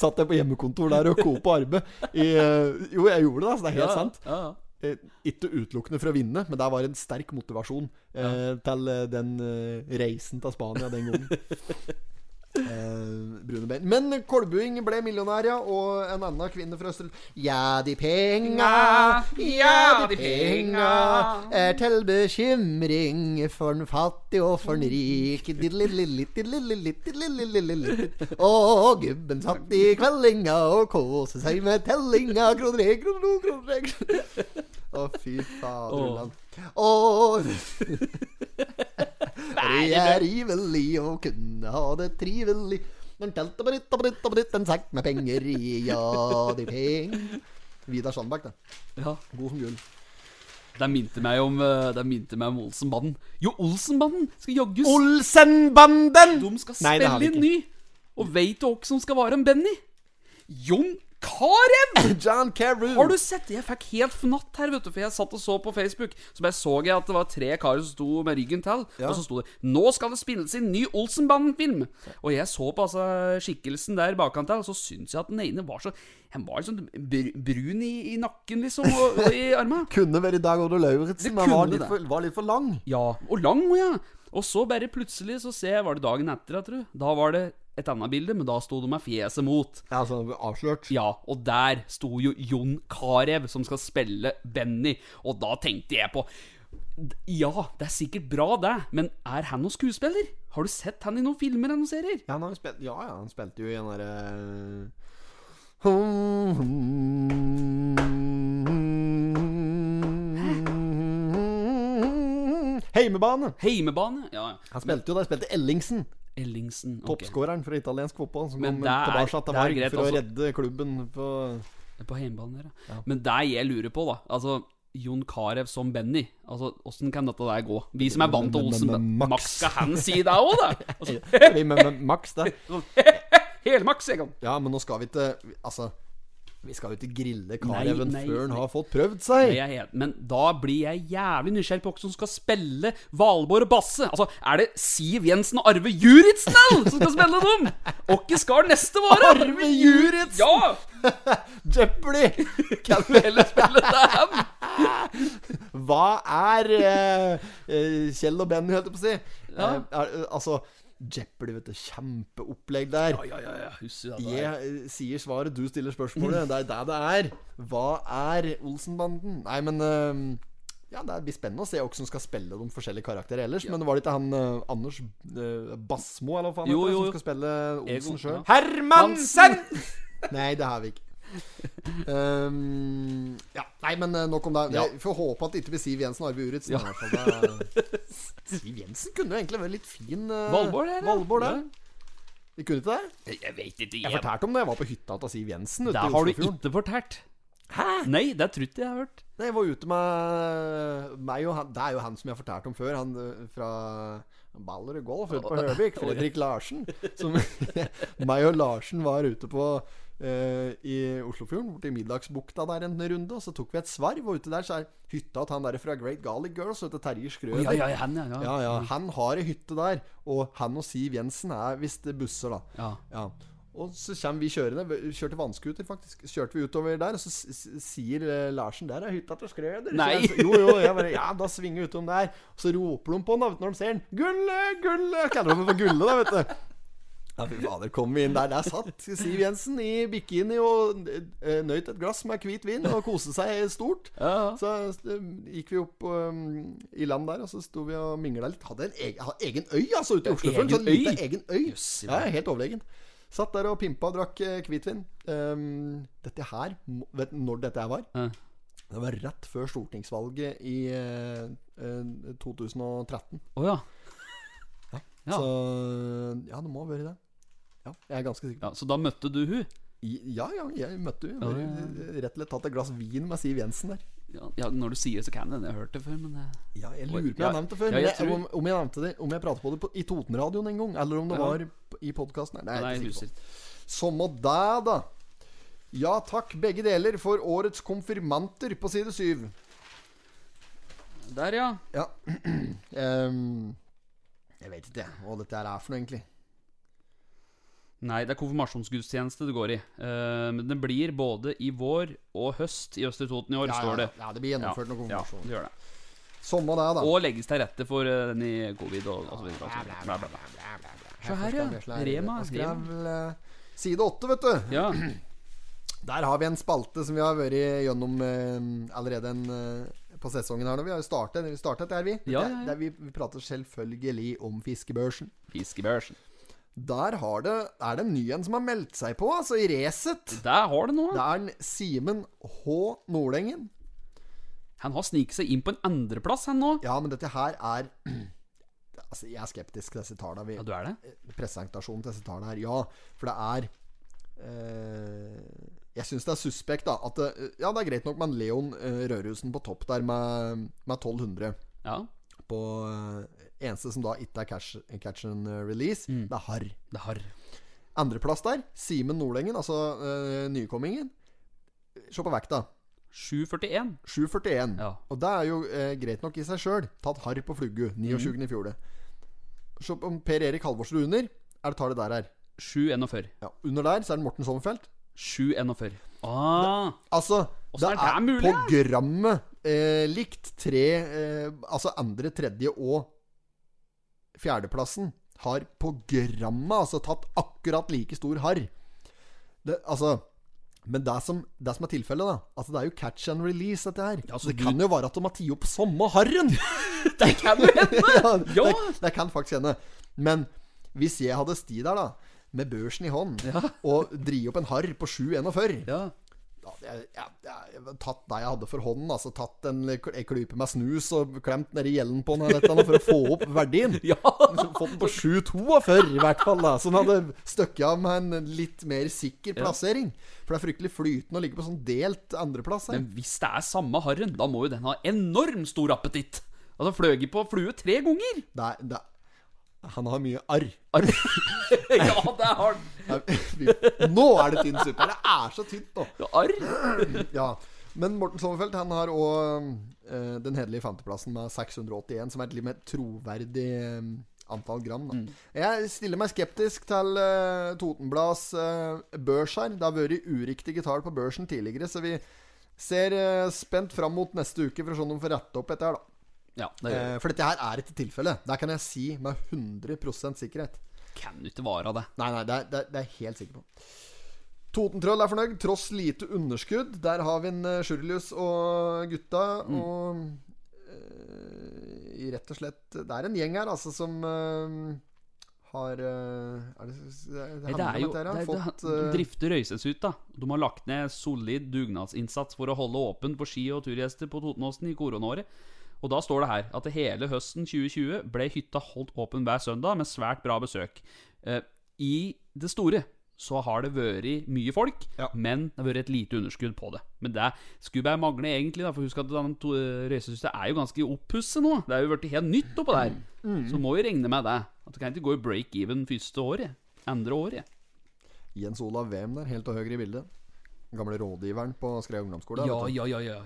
Satt jeg på hjemmekontor der og kopa arbeid. I, eh, jo, jeg gjorde det, altså. Det er helt sant.
Ja, ja.
Eh, Ikke utelukkende for å vinne, men det var en sterk motivasjon eh, til eh, den eh, reisen til Spania den gangen. Eh, brune bein. Men Kolbuing ble millionær, ja. Og en annen kvinne fra Østerl... Ja, de penga, ja, de penga er til bekymring for den fattige og for den rike. Og gubben satt i kveldinga og kose seg med tellinga. Kroner én, kroner to, kroner tre kroner. Å, fy fader. Ulland. Å, det er ivelig å kunne ha det trivelig. Når teltet på ditt og på ditt og på ditt, en sekk med penger i, ja, de peng. Vidar Sandberg, da.
ja.
God som gull.
Det minte meg om eh, Det minte meg om Olsenbanden. Jo, Olsenbanden skal jaggu s-
Olsenbanden!
De skal
Nei, det har vi
spille inn ny. Og veit du hvem som skal være en Benny? Jon Carew!
John Carew.
Har du sett det? Jeg fikk helt fnatt her, vet du, for jeg satt og så på Facebook. Så bare så jeg at det var tre karer som sto med ryggen til, og så sto det 'Nå skal det spilles inn ny Olsenbanden-film'. Og jeg så på altså skikkelsen der bakan til, og så syns jeg at den ene var så Han var sånn br brun i, i nakken, liksom, og, og i armene.
Kunne vært Dag Oddo Lauritzen,
Det
men var
kunne
litt,
det.
for, var litt for lang.
Ja, og lang, ja. Og så bare plutselig så ser jeg Var det dagen etter, jeg tror? Da var det et annet bilde, men da sto det med fjeset mot.
Ja, altså, avslørt.
Ja, og der sto jo Jon Carew, som skal spille Benny, og da tenkte jeg på d- Ja, det er sikkert bra, det, men er han noen skuespiller? Har du sett han i noen filmer eller noen serier?
Ja, han har jo spilt, ja, ja, han spilte jo i den eh, derre Heimebane!
Heimebane? Ja, ja.
Han spilte jo der, spilte Ellingsen.
Ellingsen. ok.
Toppskåreren for italiensk fotball som
Men
kom
det er-
tilbake til
det er
Varg
greit,
for å
altså.
redde klubben på
På hjemmebane der, ja. Men det jeg lurer på, da Altså, Jon Carew som Benny. Altså, Åssen kan dette der gå? Vi som er vant til
Men- men-
Olsen
men- Max.
Max, skal han si det òg, da? Altså,
Vi med, med Max der.
Hele Max, jeg kan.
Ja, men nå skal vi ikke Altså, vi skal jo ikke grille Kareven
nei,
før han
nei.
har fått prøvd seg.
Jeg er helt, men da blir jeg jævlig nysgjerrig på hvem som skal spille Valborg og Basse. Altså, Er det Siv Jensen og Arve Juritzen da, som skal spille dem? Hvem skal neste være?
Arve Juritzen!
Ja!
Jeopardy! Kan vi heller spille Hva er eh, eh, Kjell og Benny, holdt jeg på å si? Eh, er, eh, altså, Jeopardy, vet du. Kjempeopplegg der.
Ja, ja, ja, husker jeg det.
Jeg eh, sier svaret, du stiller spørsmålet. Det er det det er. Hva er Olsenbanden? Nei, men eh, Ja, det blir spennende å se hvem som skal spille de forskjellige karakterene ellers. Men det var ikke han eh, Anders eh, Basmo, eller hva faen
Jo,
heter det, som
jo, jo.
skal spille
Egon,
Olsen sjøl?
ja.
Hermansen! Nei, det har vi ikke. Ehm, ja, nei, men eh, nok om det.
Ja.
Jeg får håpe at det ikke blir Siv Jensen og Arve Uritzen. i hvert fall. Det- Siv Jensen kunne jo egentlig vært litt fin. eh,
Valborg, det, eller?
Valborg, det. Vi kunne ikke det?
Jeg vet ikke.
Jeg
Jeg,
fortalte om det. Jeg var på hytta til Siv Jensen. ute i
det har du
Oslofjorden.
ikke fortalt.
Hæ?
Nei, det tror ikke jeg har hørt.
Nei, jeg var ute med meg og han Det er jo han som jeg fortalte om før. Han eh, fra Ballerud Golf ute på Høvik. Fredrik Larsen. Som meg og Larsen var ute på eh, i Oslofjorden, borti Middagsbukta der en runde. Og så tok vi et svarv, og ute der så er hytta til han der fra Great Garlic Girls, vet du, Terje Skrøder.
Ja, ja, ja, han, ja, ja.
Ja, ja. Han har ei hytte der, og han og Siv Jensen er visst busser, da.
Ja.
Og så kommer vi kjørende. Vi kjørte vannskuter, faktisk. Så Kjørte vi utover der, og så s- s- sier eh, Larsen 'Der er hytta til Skrøder'. Så
Nei.
jeg- Jo, jo. Jeg bare, ja, da svinger vi utom der. Og så roper de på han da, vet du, når de ser han. 'Gulle, Gulle!' Kaller de ham for Gulle, da, vet du. Ja, fy fader, kom vi inn der. Der satt Siv Jensen i bikini og eh, nøyt et glass med hvit vin og koste seg stort.
Ja,
Så eh, gikk vi opp um, i land der, og så sto vi og mingla litt. Hadde en egen, hadde egen øy, altså, ute i Oslofjorden.
egen
Sånn lite
øy?
egen øy.
Jøss, i
Ja, helt overlegen. Satt der og pimpa og drakk eh, hvitvin. Um, dette her må- Vet du når dette her var?
Ja.
Det var rett før stortingsvalget i eh, eh, 2013.
Å ja. Ja.
Så ja, det må ha vært det. Ja, jeg er ganske sikker.
ja. Så da møtte du hun?
I- Ja, ja, jeg møtte jo
Ja,
bare,
ja,
eh, rett og slett tatt et glass vin med Siv Jensen der.
Ja, ja, når du sier det, så kan det hende jeg har hørt det før, men eh, jeg...
Ja, jeg lurer på om jeg
Ja,
har nevnt det før.
ja,
men
jeg
jeg
tror-
om, om jeg nevnte det Om jeg pratet på det på, i Totenradioen en gang, eller om det
Ja.
var p- i podkasten. Nei,
Nei,
jeg er
jeg
ikke
husker
sikker på.
ikke.
Som og dæ, da. Ja takk, begge deler, for årets konfirmanter på side syv.
Der, ja.
Ja. Em, Ehm, jeg vet ikke jeg, hva dette her er for noe, egentlig.
Nei, det er konfirmasjonsgudstjeneste det går i. Eh, men den blir både i vår og høst i Østre Toten i år,
Ja,
står
ja,
det.
ja, det blir gjennomført noen
Ja,
konfirmasjoner.
det gjør det.
Som og dæ, da.
Og legges til rette for eh, den i covid og, og så videre. og så videre. Bla, bla, bla. Se her, ja. Rema,
Rema. eh, Side åtte, vet du.
Ja.
Der har vi en spalte som vi har vært gjennom eh, allerede en, eh, på sesongen her nå. Vi har jo startet, vi startet dette her, vi.
Ja,
Det-
ja, ja.
Der vi, vi prater selvfølgelig om fiskebørsen.
Fiskebørsen.
Der har det, er det en ny en som har meldt seg på, altså i Resett.
Der har det
Det
noe.
er en Simen H. Nordengen.
Han har sniket seg inn på en andreplass, han nå.
Ja, men dette her er Altså, jeg er skeptisk til disse tallene. Vi,
Ja, du er det?
presentasjonen til disse tallene her. Ja, for det er eh, Jeg syns det er suspekt, da. At det, ja, det er greit nok med en Leon eh, Rødhusen på topp der med, med 1200.
Ja.
På eh, eneste som da ikke er catch, catch and release, det er harr.
Det har.
Andreplass der, Simen Nordengen, altså eh, nykommingen. Se på vekta.
741.
7,41.
Ja.
Og det er jo eh, greit nok i seg sjøl. Tatt harr på fluggu. 29. i fjor. det. Se på om Per Erik Halvorsen under. Er det tallet der her?
741.
Ja, under der så er det Morten Sommerfelt.
741. Ah,
Altså, det
Åssen
er,
er det mulig, da?
programmet eh, likt tre eh, Altså andre, tredje og fjerdeplassen har programmet altså tatt akkurat like stor harr. Det, altså men det som, det som er tilfellet, da Altså Det er jo catch and release, dette her.
Ja, så
det
du-
kan jo være at de har tatt opp samme harren!
det kan jo hende!
ja,
Ja.
det, det kan faktisk hende. Men hvis jeg hadde sti der, da, med børsen i hånd, og dri opp en harr på 7,41
Ja.
ja, jeg, jeg, jeg, jeg, tatt det jeg hadde for hånden, altså tatt en, en klype med snus og klemt nedi gjelden på den her, dette, nå, for å få opp verdien.
Ja.
Så Fått den på 7,42 i hvert fall, da. Så den hadde støkket av med en litt mer sikker plassering. For det er fryktelig flytende å ligge på sånn delt andreplass her.
Men hvis det er samme harren, da må jo den ha enorm stor appetitt. Altså fløyet på flue tre ganger.
Det er, det er, han har mye arr.
Ar- ja, det er hardt.
Nei, vi- Nå er det tynn suppe! her. Det er så tynt nå.
Ja, Arr.
Ja. Men Morten Sommerfeld han har òg den hederlige femteplassen med 681, som er et litt mer troverdig eh, antall gram. Da. Jeg stiller meg skeptisk til eh, Totenblads eh, børs her. Det har vært uriktige tall på børsen tidligere, så vi ser eh, spent fram mot neste uke for å se om de får rette opp dette her, da.
Ja, det
Eh, for dette her er ikke tilfellet. Det kan jeg si med 100 sikkerhet.
kan jo ikke være det.
Nei, nei, det er, det er, det er jeg helt sikker på. Totentroll er fornøyd, tross lite underskudd. Der har vi en eh, Sjurlius og gutta.
Mm.
Og eh, rett og slett Det er en gjeng her, altså, som eh, har eh, Er det, det,
Nei, det er jo det er,
fått,
det,
eh,
De drifter Røyses ut, da. De har lagt ned solid dugnadsinnsats for å holde åpen på ski og turgjester på Totenåsen i koronaåret. Og da står det her at hele høsten 2020 ble hytta holdt åpen hver søndag med svært bra besøk. Eh, I det store så har det vært mye folk,
Ja.
men det har vært et lite underskudd på det. Men det skulle bare mangle, egentlig. Da, for husk at denne to- racerhuset er jo ganske oppusset nå. Det er jo blitt helt nytt oppå der. Så må vi regne med det. At det kan ikke gå i break-even første året. Andre året.
eh, Jens Olav Wem der, helt til høyre i bildet. Den Gamle rådgiveren på Skreia ungdomsskole.
Ja,
vet du.
ja, ja. ja.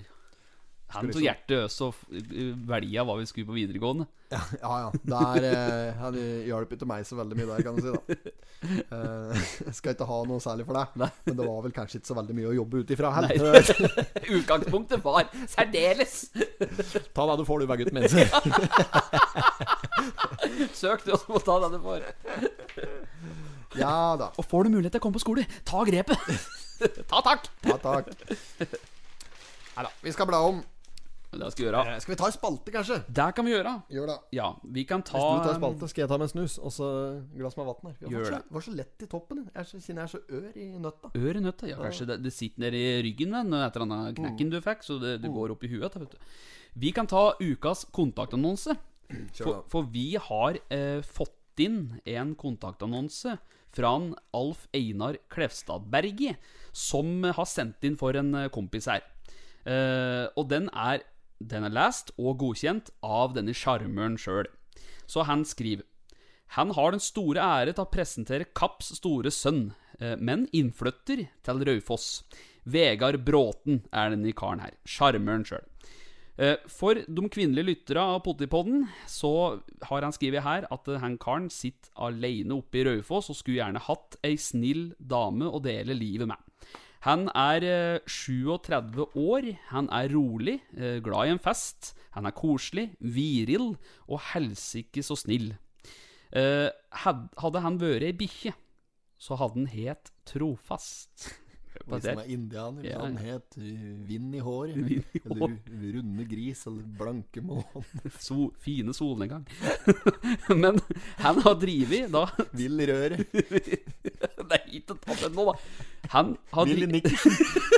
Han tok hjertet øs og f- velja hva vi skulle på videregående.
ja, ja. Der eh, han hjalp ikke meg så veldig mye der, kan du si. da eh, jeg Skal ikke ha noe særlig for deg, men det var vel kanskje ikke så veldig mye å jobbe ut ifra heller.
Utgangspunktet var særdeles!
Ta deg du får, du, hver gutten min.
Søk du, og så må ta det du får.
Ja da.
Og får du mulighet til å komme på skole, ta grepet! ta takk!
Ja, takk. Neida, Vi skal bla om.
Det skal vi gjøre.
Eh, Skal vi ta en spalte, kanskje?
Det kan vi gjøre.
Gjør det.
Ja, vi kan ta
Hvis du tar spalte, skal jeg ta med en snus og så glass med vann her. Jeg
Gjør
var så,
det.
var så lett i toppen. Jeg er så, kjenner jeg er så ør i nøtta.
Ør i nøtta? Ja, kanskje det, det sitter nede i ryggen den etter denne
Mm.
knekken du fikk, så det, det går opp i huet. da, Vet du. Vi kan ta ukas kontaktannonse. For, for vi har eh, fått inn en kontaktannonse fra en Alf Einar Klevstadbergi, som har sendt inn for en eh, kompis her. Eh, og den er, den er lest og godkjent av denne sjarmøren sjøl. Så han skriver han har den store ære til å presentere Kapps store sønn, eh, men innflytter til Raufoss. Vegard Bråten er denne karen her. Sjarmøren sjøl. Eh, For de kvinnelige lyttere av Pottipodden så har han skrevet her at eh, han karen sitter alene oppe i Raufoss og skulle gjerne hatt ei snill dame å dele livet med. Han er eh, 37 år, han er rolig, eh, glad i en fest, han er koselig, viril og helsike så snill. Eh, had, hadde han vært ei bikkje, så hadde han het Trofast. Hør på
Hvis
det.
han er indianer,
Ja,
ja. han het uh, Vind i håret.
Vind i
Eller ru- Runde gris, eller Blanke mål.
So, fine solnedgang. Men han har drevet da
Vill i røret.
Nei, ikke ta den nå, da. Han har
Willy
drivet
Nikkersen.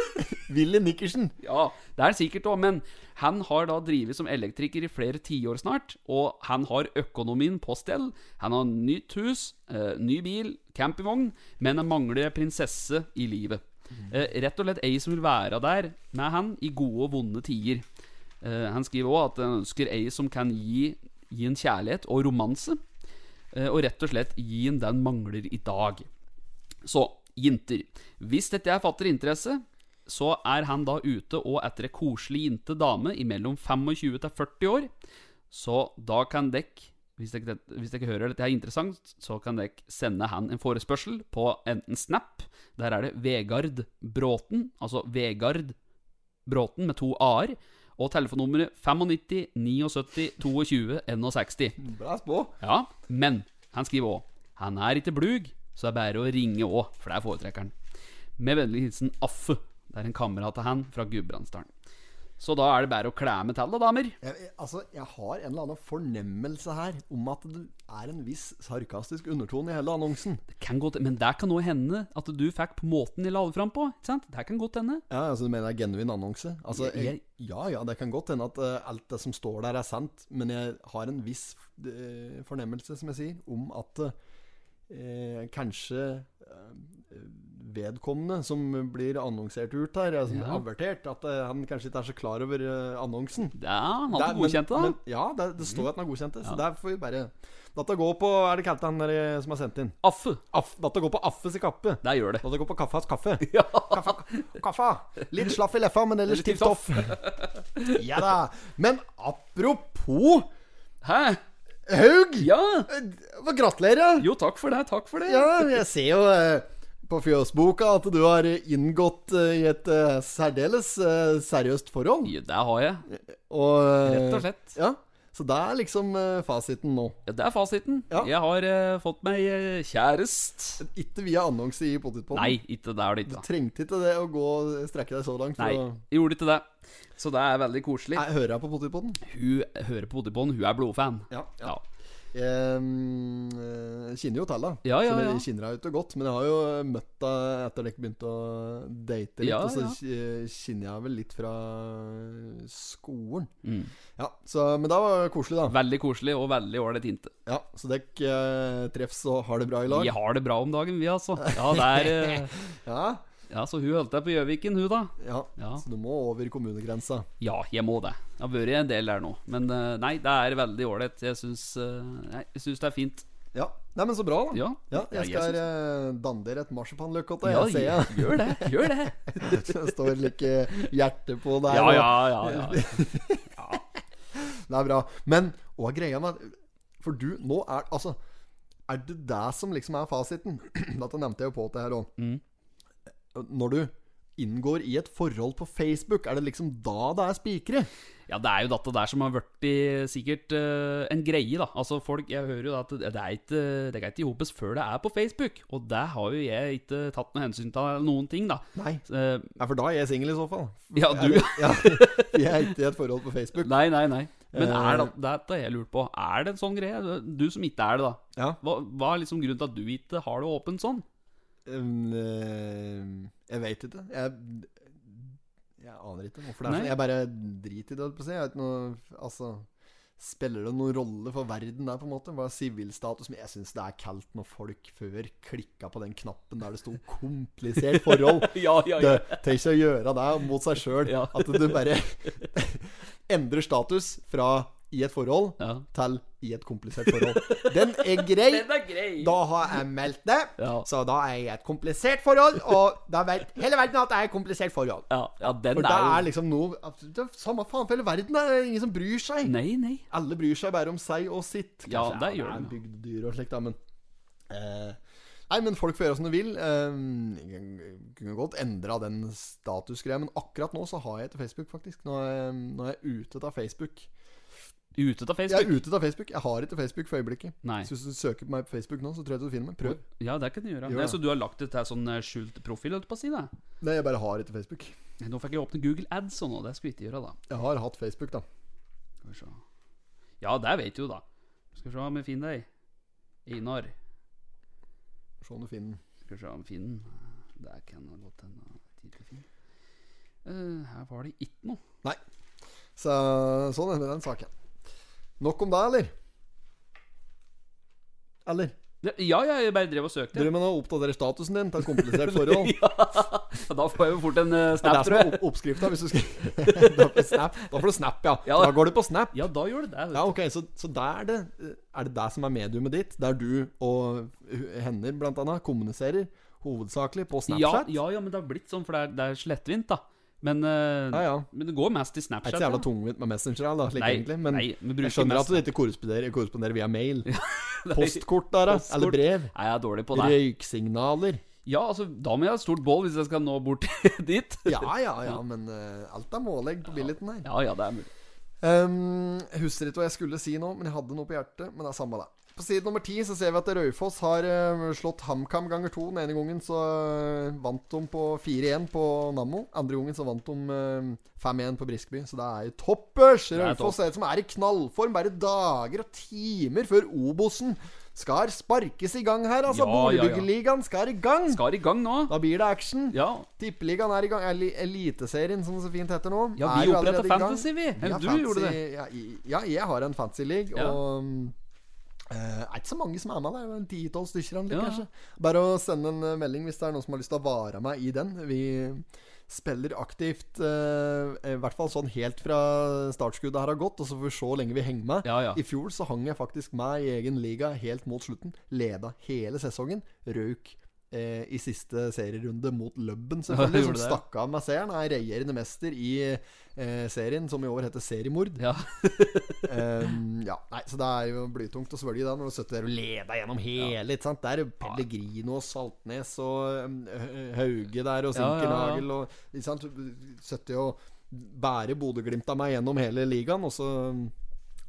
Willy Nikkersen.
Ja, det er sikkert òg, men han har da drevet som elektriker i flere tiår snart. Og han har økonomien på stell. Han har nytt hus, eh, ny bil, campingvogn, men han mangler prinsesse i livet. Eh, rett og slett ei som vil være der med han i gode og vonde tider. Eh, han skriver òg at han ønsker ei som kan gi, gi en kjærlighet og romanse. Eh, og rett og slett gi en den mangler i dag. Så, jenter. Hvis dette er fatter interesse, så er han da ute og etter ei koselig jente dame imellom 25 til 40 år. Så da kan dekk hvis dere, hvis dere hører dette er interessant, så kan dere sende han en forespørsel på enten Snap Der er det Vegard Bråten, altså Vegard Bråten med to a-er, og telefonnummeret 95 79 22 61.
Blæs på.
Ja, men han skriver òg Han er ikke blug, så det er bare å ringe òg, for det er foretrekkeren. Med vennlig hilsen Affe. Det er en kamerat av han fra Gudbrandsdalen. Så da er det bare å klemme til, da, damer.
Jeg, jeg, altså, jeg har en eller annen fornemmelse her om at det er en viss sarkastisk undertone i hele annonsen.
Det kan godt, men det kan nå hende at du fikk på måten de la det fram på. Ikke sant? Det kan godt hende.
Ja, altså Du mener det er genuin annonse? Altså, jeg,
Jeg-
ja ja, det kan godt hende at eh, alt det som står der, er sant, men jeg har en viss eh, fornemmelse, som jeg sier, om at eh, kanskje eh, vedkommende som blir annonsert ut her, eh, som er avertert, at eh, han kanskje ikke er så klar over eh, annonsen.
Ja, han
Det
hadde
er-
godkjent det,
men-
da. Mm.
men- Ja, det, det står at den er godkjent, så der får vi bare Dette går på Er det kalt han der eh, som er sendt inn?
Affe.
Aff, dette går på Affes i kappe.
Der gjør det.
La det gå på kaffas kaffe. Kaffe, kaffe. Litt slaff i leffa, men ellers tipp topp. Ja da. Men apropos
Hæ?
Haug!
Ja!
Eh, Gratulerer.
Jo, takk for det. Takk for det.
Ja, jeg ser jo eh, på fjøsboka at du har inngått eh, i et eh, særdeles eh, seriøst forhold.
Ja, det har jeg.
Og, eh,
Rett og slett.
Ja, Så det er liksom eh, fasiten nå.
Ja, det er fasiten.
Ja.
Jeg har eh, fått meg eh, kjæreste.
Ikke via annonse i Potetpodden.
Nei, ikke det er det ikke. da.
Trengte ikke det å gå strekke deg så langt.
Nei,
For å...
jeg gjorde ikke det. Så det er veldig koselig.
Nei, hører jeg på Potetpodden?
Hun hører på Odibon, hun er blodfan.
Ja,
Ja.
Ehm, eh, kjenner jo til det.
Ja, ja,
så vi
ja.
kjenner deg jo ikke godt. Men jeg har jo møtt deg etter dere begynte å date litt.
Ja,
og så
ja.
ki- kjenner jeg vel litt fra eh, skolen.
Mm.
Ja, så, Men det var koselig, da.
Veldig koselig og veldig ålreit inte.
Ja, Så dere eh, treffs og har det bra i lag?
Vi har det bra om dagen, vi, altså. Ja, det er eh,
Ja,
Ja, så hun holdt deg på Gjøviken, hun, da.
ja.
Ja.
Så du må over kommunegrensa.
Ja, jeg må det. Jeg har vært en del der nå. Men eh, nei, det er veldig ålreit. Jeg syns eh, nei, jeg syns det er fint.
Ja. Nei, men så bra, da.
Ja.
Ja, jeg
Ja, jeg
skal eh, danne dere et marsipanløkkotte,
Ja,
jeg ser jeg.
gjør det. Gjør det.
Det står like hjerte på der.
Ja,
og-
ja, ja. ja.
Det er bra. Men hva er greia med For du, nå er Altså, er det det som liksom er fasiten? Dette nevnte jeg jo på til her òg.
Mm.
Når du inngår i et forhold på Facebook, er det liksom da det er spikere?
Ja, det er jo dette der som har vært i sikkert eh, en greie, da. Altså, folk Jeg hører jo da at det det er ikke Det er ikke i hopes før det er på Facebook. Og det har jo jeg ikke tatt med hensyn til noen ting, da.
Nei.
Eh,
Nei, for da er jeg singel i så fall.
ja, du
Ja, jeg er ikke i et forhold på Facebook.
Nei, nei, nei. Men er det,
Eh.
dette har jeg lurt på. Er det en sånn greie? Du som ikke er det, da.
Ja.
Hva, hva er liksom grunnen til at du ikke har det åpent sånn?
Um, eh, jeg veit ikke. Jeg, jeg aner ikke hvorfor det er
Nei.
sånn. Jeg bare driter i det, holdt på å si. Jeg har ikke noe Altså Spiller det noen rolle for verden der, på en måte? Hva er sivilstatus? Men jeg syns det er kaldt når folk før klikka på den knappen der det sto 'komplisert forhold'.
Ja, ja,
Det, tenk seg å gjøre det mot seg sjøl.
Ja.
At du bare endrer status fra 'i et forhold'
Ja.
til 'i et komplisert forhold'. Den er grei.
er grei.
Da har jeg meldt det,
Ja.
så da er jeg i et komplisert forhold, og da vet hele verden at det er et komplisert forhold.
Ja, ja den
For
er
det
jo
er liksom noe det er Samme faen for hele verden, det er ingen som bryr seg.
Nei, nei.
Alle bryr seg bare om seg og sitt. Kanskje,
Ja, det gjør
er
de, ja.
bygdedyr og slikt, da, men eh, Nei, men folk får gjøre som de vil. Eh, jeg kunne godt endra den statusgreia, men akkurat nå så har jeg ikke Facebook, faktisk. Nå er jeg, nå er jeg ute av Facebook.
Ute av
Jeg er
Facebook.
ute av Facebook. Jeg har ikke Facebook for øyeblikket.
Nei.
Så hvis du søker på meg på Facebook nå, så tror jeg du finner meg. Prøv.
Ja, det kan du gjøre.
Jo,
Nei,
ja.
så du har lagt det til sånn eh, skjult profil, holdt på å si det?
Nei, jeg bare har ikke Facebook.
Nå fikk jeg åpne Google Ads og nå, det skulle jeg ikke gjøre, da.
Jeg har hatt Facebook, da.
Skal vi se. Ja, det vet du, da. Skal vi se om jeg finner deg. Einar.
Se om du finner den.
Skal vi se om jeg finner den. Det kan ha gått en tid til å finne. Eh, her var det ikke noe.
Nei. Så sånn er det med den saken. Nok om deg, eller? Eller?
Ja, ja, jeg bare drev og søkte.
Dere må nå oppdatere statusen din til et komplisert forhold.
Ja, da får jeg jo fort en eh,
Det er
snap,
som
tror
er
jeg.
opp- oppskrifta, hvis du skal Da får du snap, da får du snap ja.
Ja.
Da går du på snap.
Ja, da gjør det det.
Ja, ok, så, så der er det Er det det som er mediumet ditt? Der du og h- hender, blant annet, kommuniserer hovedsakelig på
ja,
Snapchat?
ja, ja, men det har blitt sånn, for det er, det er slettvint, da. Men, eh,
Ja, ja.
men det går mest i
Det er
Snapchat.
ikke så jævla
da.
tungvint med Messenger, da, slik
Nei,
egentlig, men
nei, vi bruker
jeg skjønner
mest-
at du ikke korresponderer, korresponderer via mail.
Nei,
Postkort der, da.
postkort.
Eller brev.
Nei, jeg er dårlig på det.
Røyksignaler.
Ja, altså, da må jeg ha et stort bål hvis jeg skal nå bort dit.
Ja, ja, ja, men eh, alt er målegg på billeten her.
Ja, ja, det er mulig.
Um, husker ikke hva jeg skulle si nå, men jeg hadde noe på hjertet. Men det er samme det. På side nummer ti så ser vi at Raufoss har eh, slått HamKam ganger to. Den ene gangen så eh, vant de på 4-1 på Nammo. Andre gangen så vant de eh, 5-1 på Briskeby. Så det er jo toppers!
er
Raufoss er et som er i knallform bare dager og timer før Obosen skal sparkes i gang her, altså.
Ja, ja, ja.
Boligbyggerligaen skal i gang!
Skal i gang nå.
Da blir det action.
Ja,
Tippeligaen er i gang. Eli- Eliteserien, som det så fint heter nå.
ja
er
vi
jo allerede
oppretta
i gang.
Fantasy, vi.
Vi har
Eller du
fancy-
gjorde det.
Ja, i- ja, jeg har en fancy league,
Ja.
og um, eh, er ikke så mange som er med der. En ti-tolv stykker, eller,
Ja.
kanskje. Bare å sende en eh, melding hvis det er noen som har lyst til å vare meg i den. Vi spiller aktivt, eh, i hvert fall sånn helt fra startskuddet her har gått, og så får vi se hvor lenge vi henger med.
Ja, ja.
I fjor så hang jeg faktisk med i egen liga helt mot slutten. Leda hele sesongen. Røyk eh, i siste serierunde mot Løbben, selvfølgelig. som
gjorde det.
stakk av med seieren. Er regjerende mester i eh, serien, som i år heter Seriemord.
Ja,
Ehm, ja, nei, Så det er jo blytungt å svelge da når du sitter der og leder gjennom hele. Ikke sant? Det er jo Pellegrino og Saltnes og um, Hø- Hauge der og
Ja, ja, ja.
Sinkernagel og ikke sant? Du sitter jo og bærer Bodø-Glimt av meg gjennom hele ligaen, og så um,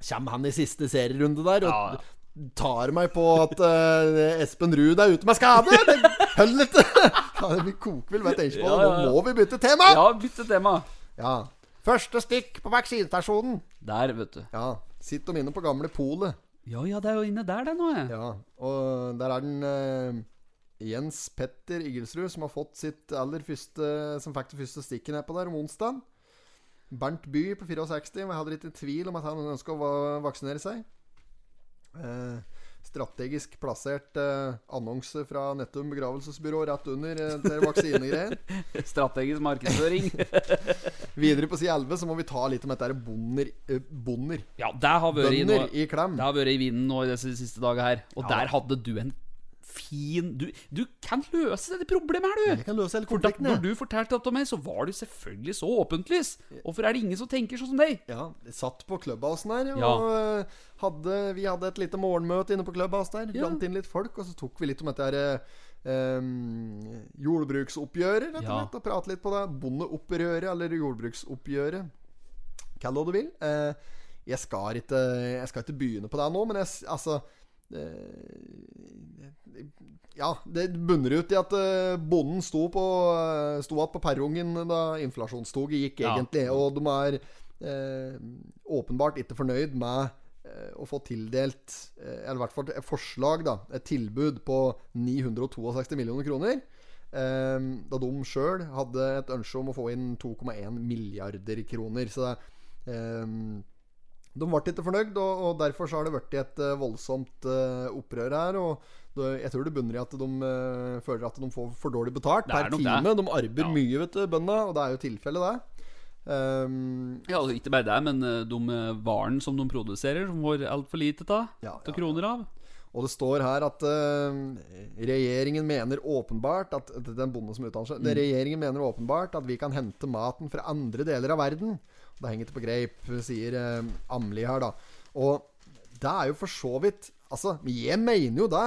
kommer han i siste serierunde der og
Ja, ja.
tar meg på at eh, Espen Ruud er ute med skade! Det- Hold litt! ja, vi koker vel hvert eneste på
Ja,
det.
ja, ja.
Nå må vi bytte tema!
ja bytte tema.
Ja. Første stikk på vaksinestasjonen.
Der, vet du.
Ja. Sitt dem inne på gamle polet.
Ja ja, det er jo inne der, det nå. jeg.
Ja, og der er den eh, Jens Petter Igelsrud som har fått sitt aller første Som fikk det første stikket nedpå der om onsdag. Bernt By på 64 var heller ikke i tvil om at han ønska å va- vaksinere seg. Eh, strategisk plassert eh, annonse fra Nettum begravelsesbyrå rett under eh, til vaksinegreier.
Strategisk markedsføring.
Videre på side 11 så må vi ta litt om dette her bonder, eh, bonder.
Ja, det har vært i
Bønder
noe
i klem.
Det har vært i vinden nå i disse siste dager her. Og
Ja.
der hadde du en fin Du, du kan løse dette problemet her,
Jeg
du!
kan løse hele
For da,
konflikten.
når
jeg.
du fortalte dette om meg, så var du selvfølgelig så åpentlys. Hvorfor er det ingen som tenker sånn som deg?
Ja, jeg satt på klubbhausen her, og
Ja.
eh, hadde, vi hadde et lite morgenmøte inne på klubbhausen der.
Ja.
Brant inn litt folk, og så tok vi litt om dette her eh, em, jordbruksoppgjøret, rett og
Ja.
slett. Og prate litt på det. Bondeopprøret, eller jordbruksoppgjøret. Kall det hva du vil. Eh, jeg, skal ikke, jeg skal ikke begynne på det nå, men jeg, s- altså eh, Ja, det bunner ut i at eh, bonden sto på eh, Sto igjen på perrongen da inflasjonstoget gikk,
Ja.
egentlig. Og de er eh, åpenbart ikke fornøyd med eh, å få tildelt eh, Eller i hvert fall et forslag, da. Et tilbud på 962 millioner kroner. Eh, da de sjøl hadde et ønske om å få inn 2,1 milliarder kroner. Så det eh, de ble ikke fornøyd, og, og derfor så har det blitt et eh, voldsomt eh, opprør her. Og det, jeg tror det bunner i at de eh, føler at de får for dårlig betalt
Det er
per
nok det.
time. De arbeider
Ja.
mye, vet du, bøndene, og det er jo tilfellet, det. Ehm,
Ja, altså, Ikke bare det, men eh, de eh, varen som de produserer, som får altfor lite av.
Ja,
Av
ja,
kroner av.
og det står her at eh, regjeringen mener åpenbart at at Den bonden som uttaler seg.
Mm.
Regjeringen mener åpenbart at vi kan hente maten fra andre deler av verden. Det henger ikke på greip, sier eh, Amli her, da. Og det er jo for så vidt Altså, jeg mener jo det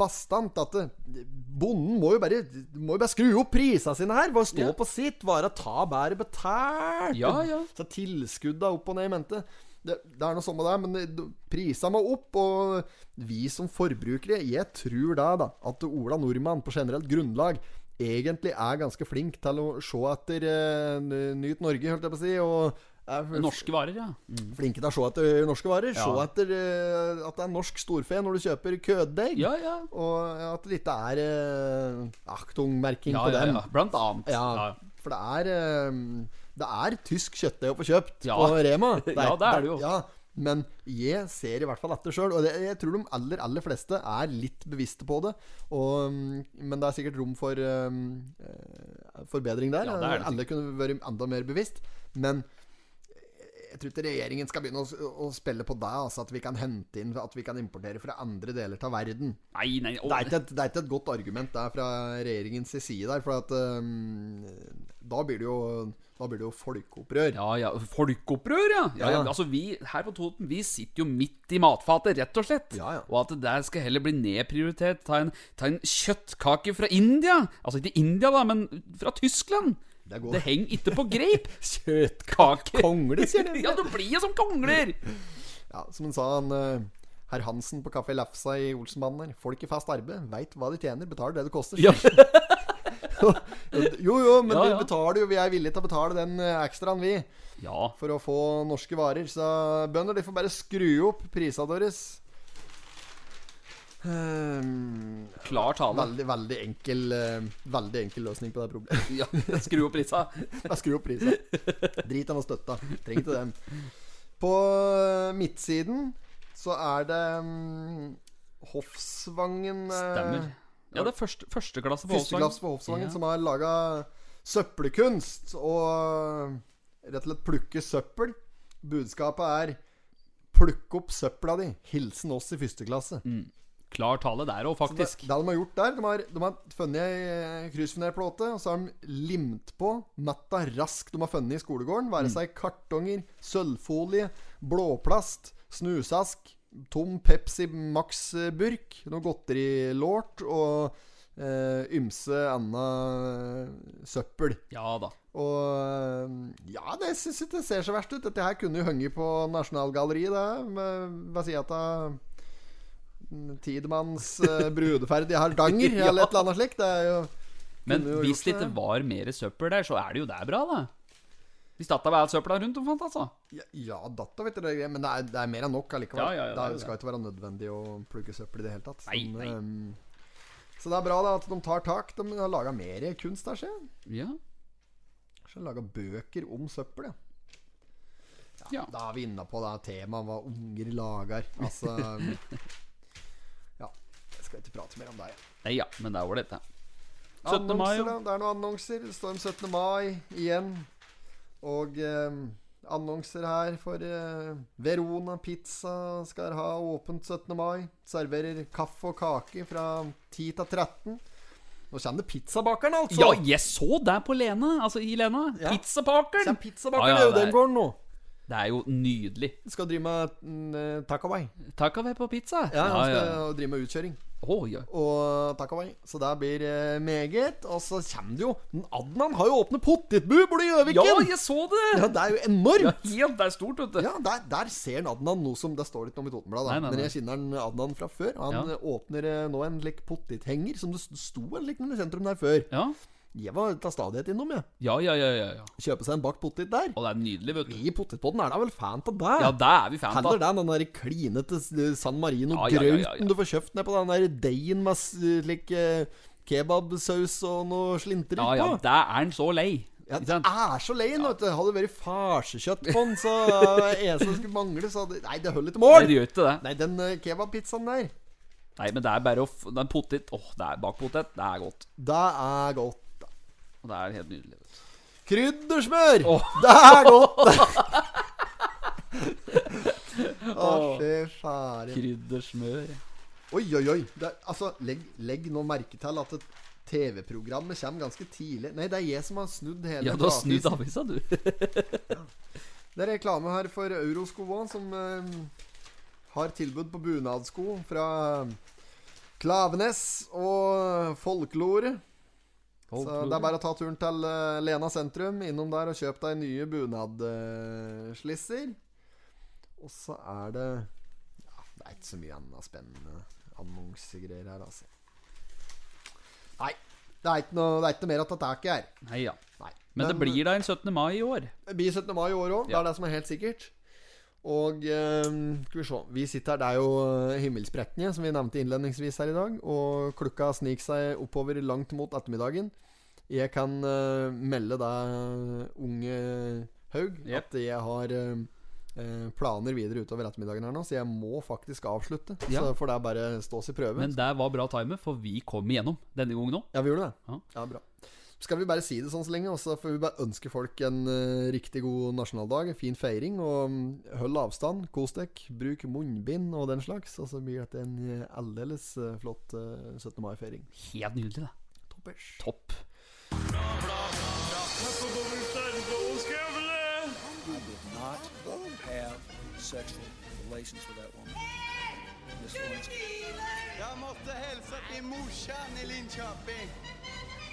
bastant at det- bonden må jo bare, må jo bare skru opp prisene sine her. Bare stå
Ja.
på sitt. Bare ta bedre betalt.
Ja, ja.
Så tilskudda opp og ned i mente. Det, det er noe sånn med det, men det- prisene må opp. Og vi som forbrukere, jeg tror det, da, at Ola Nordmann på generelt grunnlag egentlig er ganske flink til å se etter eh, Nyt Norge, holdt jeg på å si. Og er
Norske varer, ja.
flinke til å se etter norske varer. Se
Ja.
etter eh, at det er norsk storfe når du kjøper køddeig.
Ja, ja.
Og at det ikke er eh, Achtung-merking
Ja,
på
ja,
dem.
ja. Blant annet.
Ja,
Ja.
for det er eh, Det er tysk kjøttdeig å få kjøpt
Ja.
på Rema.
Ja, det er det jo.
Ja, men jeg ser i hvert fall etter sjøl, og det, jeg tror de aller aller fleste er litt bevisste på det. Og, mm, men det er sikkert rom for eh, eh, forbedring der.
Ja, det er det
alle kunne vært enda mer bevisst. Men jeg tror ikke regjeringen skal begynne å, s- å spille på det. Altså at vi kan hente inn At vi kan importere fra andre deler av verden.
Nei, nei. å,
Det er, ikke et, det er ikke et godt argument der fra regjeringens side der, for at ehm, da blir det jo Da blir det jo folkeopprør.
Ja, ja, folkeopprør, ja. ja, ja.
Ja.
Altså, vi her på Toten Vi sitter jo midt i matfatet, rett og slett.
Ja, ja.
Og at det der skal heller bli nedprioritert. Ta en, ta en kjøttkake fra India. Altså ikke India, da, men fra Tyskland.
Det er godt.
Det henger ikke på greip.
Kjøttkake Kongle, sier de.
ja, du blir jo som kongler!
Ja, som han sa, han eh, herr Hansen på Kafé Lafsa i Olsenbanden her. Folk i fast arbeid veit hva de tjener, betaler det det koster.
Ja.
Jo, jo, men
Ja, ja.
vi betaler jo. Vi er villige til å betale den eh, ekstraen, vi.
ja.
For å få norske varer. Så bønder, de får bare skru opp prisene deres. Ehm,
Klar tale.
Veldig, veldig enkel eh, Veldig enkel løsning på det problemet.
Ja, skru opp lista.
Jeg skrur opp prisen. Drit i noe støtta. Trenger ikke den. På eh, midtsiden så er det mm, Hofsvangen eh,
Stemmer. Ja, det er første, første klasse på
Førsteklasse på Hofsvangen
Ja.
som har laga søppelkunst og eh, rett og slett plukke søppel. Budskapet er 'plukk opp søpla di'. Hilsen oss i første klasse.
Klar tale der òg, faktisk.
Det, det de har gjort der, de har, de har funnet ei eh, kryssfinerplate, og så har de limt på matta raskt de har funnet i skolegården. Være seg kartonger, sølvfolie, blåplast, snusask, tom Pepsi Max-burk, noe godterilort og eh, ymse anna eh, søppel.
Ja da.
Og eh, ja, det syns ikke det ser så verst ut. Dette her kunne jo hengt på Nasjonalgalleriet, det. med- Ved sida av Tidemanns eh, brudeferd i Hardanger,
Ja.
eller et eller annet slikt. Det er jo
Men
Kunne jo
hvis
gjort
det
det.
ikke var mer søppel der, så er det jo der bra, da. De statta vel all søpla rundt omfant, altså.
Ja, ja datta, vet du, det er greit, men det er, det er mer enn nok allikevel.
Ja, ja, ja,
det, er,
det er
skal ikke være nødvendig å plugge søppel i det hele tatt.
Nei,
Sånn,
nei.
ehm, så det er bra da at de tar tak. De har laga mer kunst der, ser jeg.
Ja.
Kanskje laga bøker om søppel, ja.
Ja.
Da er vi inne på det temaet hva unger lager. Altså Ja. Jeg skal ikke prate mer om det. jeg.
Nei, ja, men det er ålreit, det. 17.
Annonser,
mai, ja.
da. Det er noen annonser. Det står om 17. mai igjen. Og eh, annonser her for eh, Verona Pizza skal ha åpent 17. mai. Serverer kaffe og kake fra 10 til 13. Nå kommer det pizzabakeren, altså!
Ja, jeg så det på Lena, altså i Lena.
Ja.
Pizzapakeren!
Kommer pizzabakeren,
Ja, ja,
det er jo
det er-
den gården nå.
Det er jo nydelig.
Skal drive med mm, takeaway.
Takaway på pizza.
Ja, han skal
ja.
drive med utkjøring.
Å, ja.
og takeaway. Så det blir eh, meget. Og så kommer det jo Men Adnan har jo åpnet potetbu borte i
ja,
Gjøviken!
jeg så det!
Ja, det er jo enormt!
Helt, det er stort, vet du.
Ja, der, der ser en Adnan noe som Det står litt om i Totenbladet,
Nei,
da.
nei,
men
nei.
jeg kjenner en Adnan fra før. Og Han
Ja.
eh, åpner eh, nå en lik potethenger, som det st- sto en lik i sentrum der før.
Ja,
Jeg var til stadighet innom, jeg.
ja, ja. ja, ja, ja.
Kjøpe seg en bakt potet der.
Og det er nydelig, vet du.
I potetpotten er da vel fan av det?
Ja, det er vi fan
Heller
av.
det enn den der klinete s- eh, San
Ja, ja, ja,
Marino-grauten
ja, ja.
du får kjøpt ned på den der deigen med s- slik eh, kebabsaus og noe slinter
Ja, ja,
utpå.
der er han så lei.
Ja,
Ikke
det
sant?
er så lei nå, vet du. Hadde det vært farsekjøtt på den, så eh, det eneste som skulle mangle, så hadde Nei, det holder ikke
Nei,
mål!
det gjør ikke det.
Nei, den eh, kebabpizzaen der,
Nei, men det er bare å f... Det er potet. Åh, det er bakt potet. Det er godt.
det er godt. da.
Og det er helt nydelig. Vet du.
Kryddersmør!
Åh.
Det er godt! Å, fy færen.
Kryddersmør.
Oi, oi, oi. Det er, altså, legg, legg nå merke til at et TV-programmet kommer ganske tidlig. Nei, det er jeg som har snudd hele
Ja, du har
platisen.
snudd avisa, du.
Det er reklame her for Euroskoa, som eh, har tilbud på bunadsko fra Klavenes og folklore. Så det er bare å ta turen til eh, Lena sentrum, innom der og kjøp deg nye bunadslisser. og så er det ja, Det er ikke så mye annet spennende annonsegreier her, altså. Nei. Det er ikke noe, det er ikke noe mer å ta tak i her.
Nei, ja.
Nei.
Men eh, det blir da en 17. mai i år.
Det blir 17. mai i år òg. Det
Ja.
er det som er helt sikkert. Og ehm, skal vi se Vi sitter her, det er jo eh, himmelsprekkene, som vi nevnte innledningsvis her i dag. Og klokka sniker seg oppover langt mot ettermiddagen. Jeg kan eh, melde deg, eh, unge Haug,
Jep.
at jeg har eh, eh, planer videre utover ettermiddagen her nå, så jeg må faktisk avslutte.
Ja.
Så får det bare stå sin prøve.
Men det var bra timer, for vi kom igjennom denne gangen òg.
Ja, vi gjorde det.
Ja.
Ja. bra. Skal vi bare si det sånn så lenge, og så får vi bare ønske folk en eh, riktig god nasjonaldag, en fin feiring, og mm, hold avstand, kos deg, bruk munnbind og den slags, og så blir dette en eh, aldeles eh, flott eh, 17. mai-feiring.
Helt nydelig, det.
Toppers.
Topp.
You did not have sexual relations with that woman. Miss Lewinsky.
Jag måste hälsa till morsan i Linköping.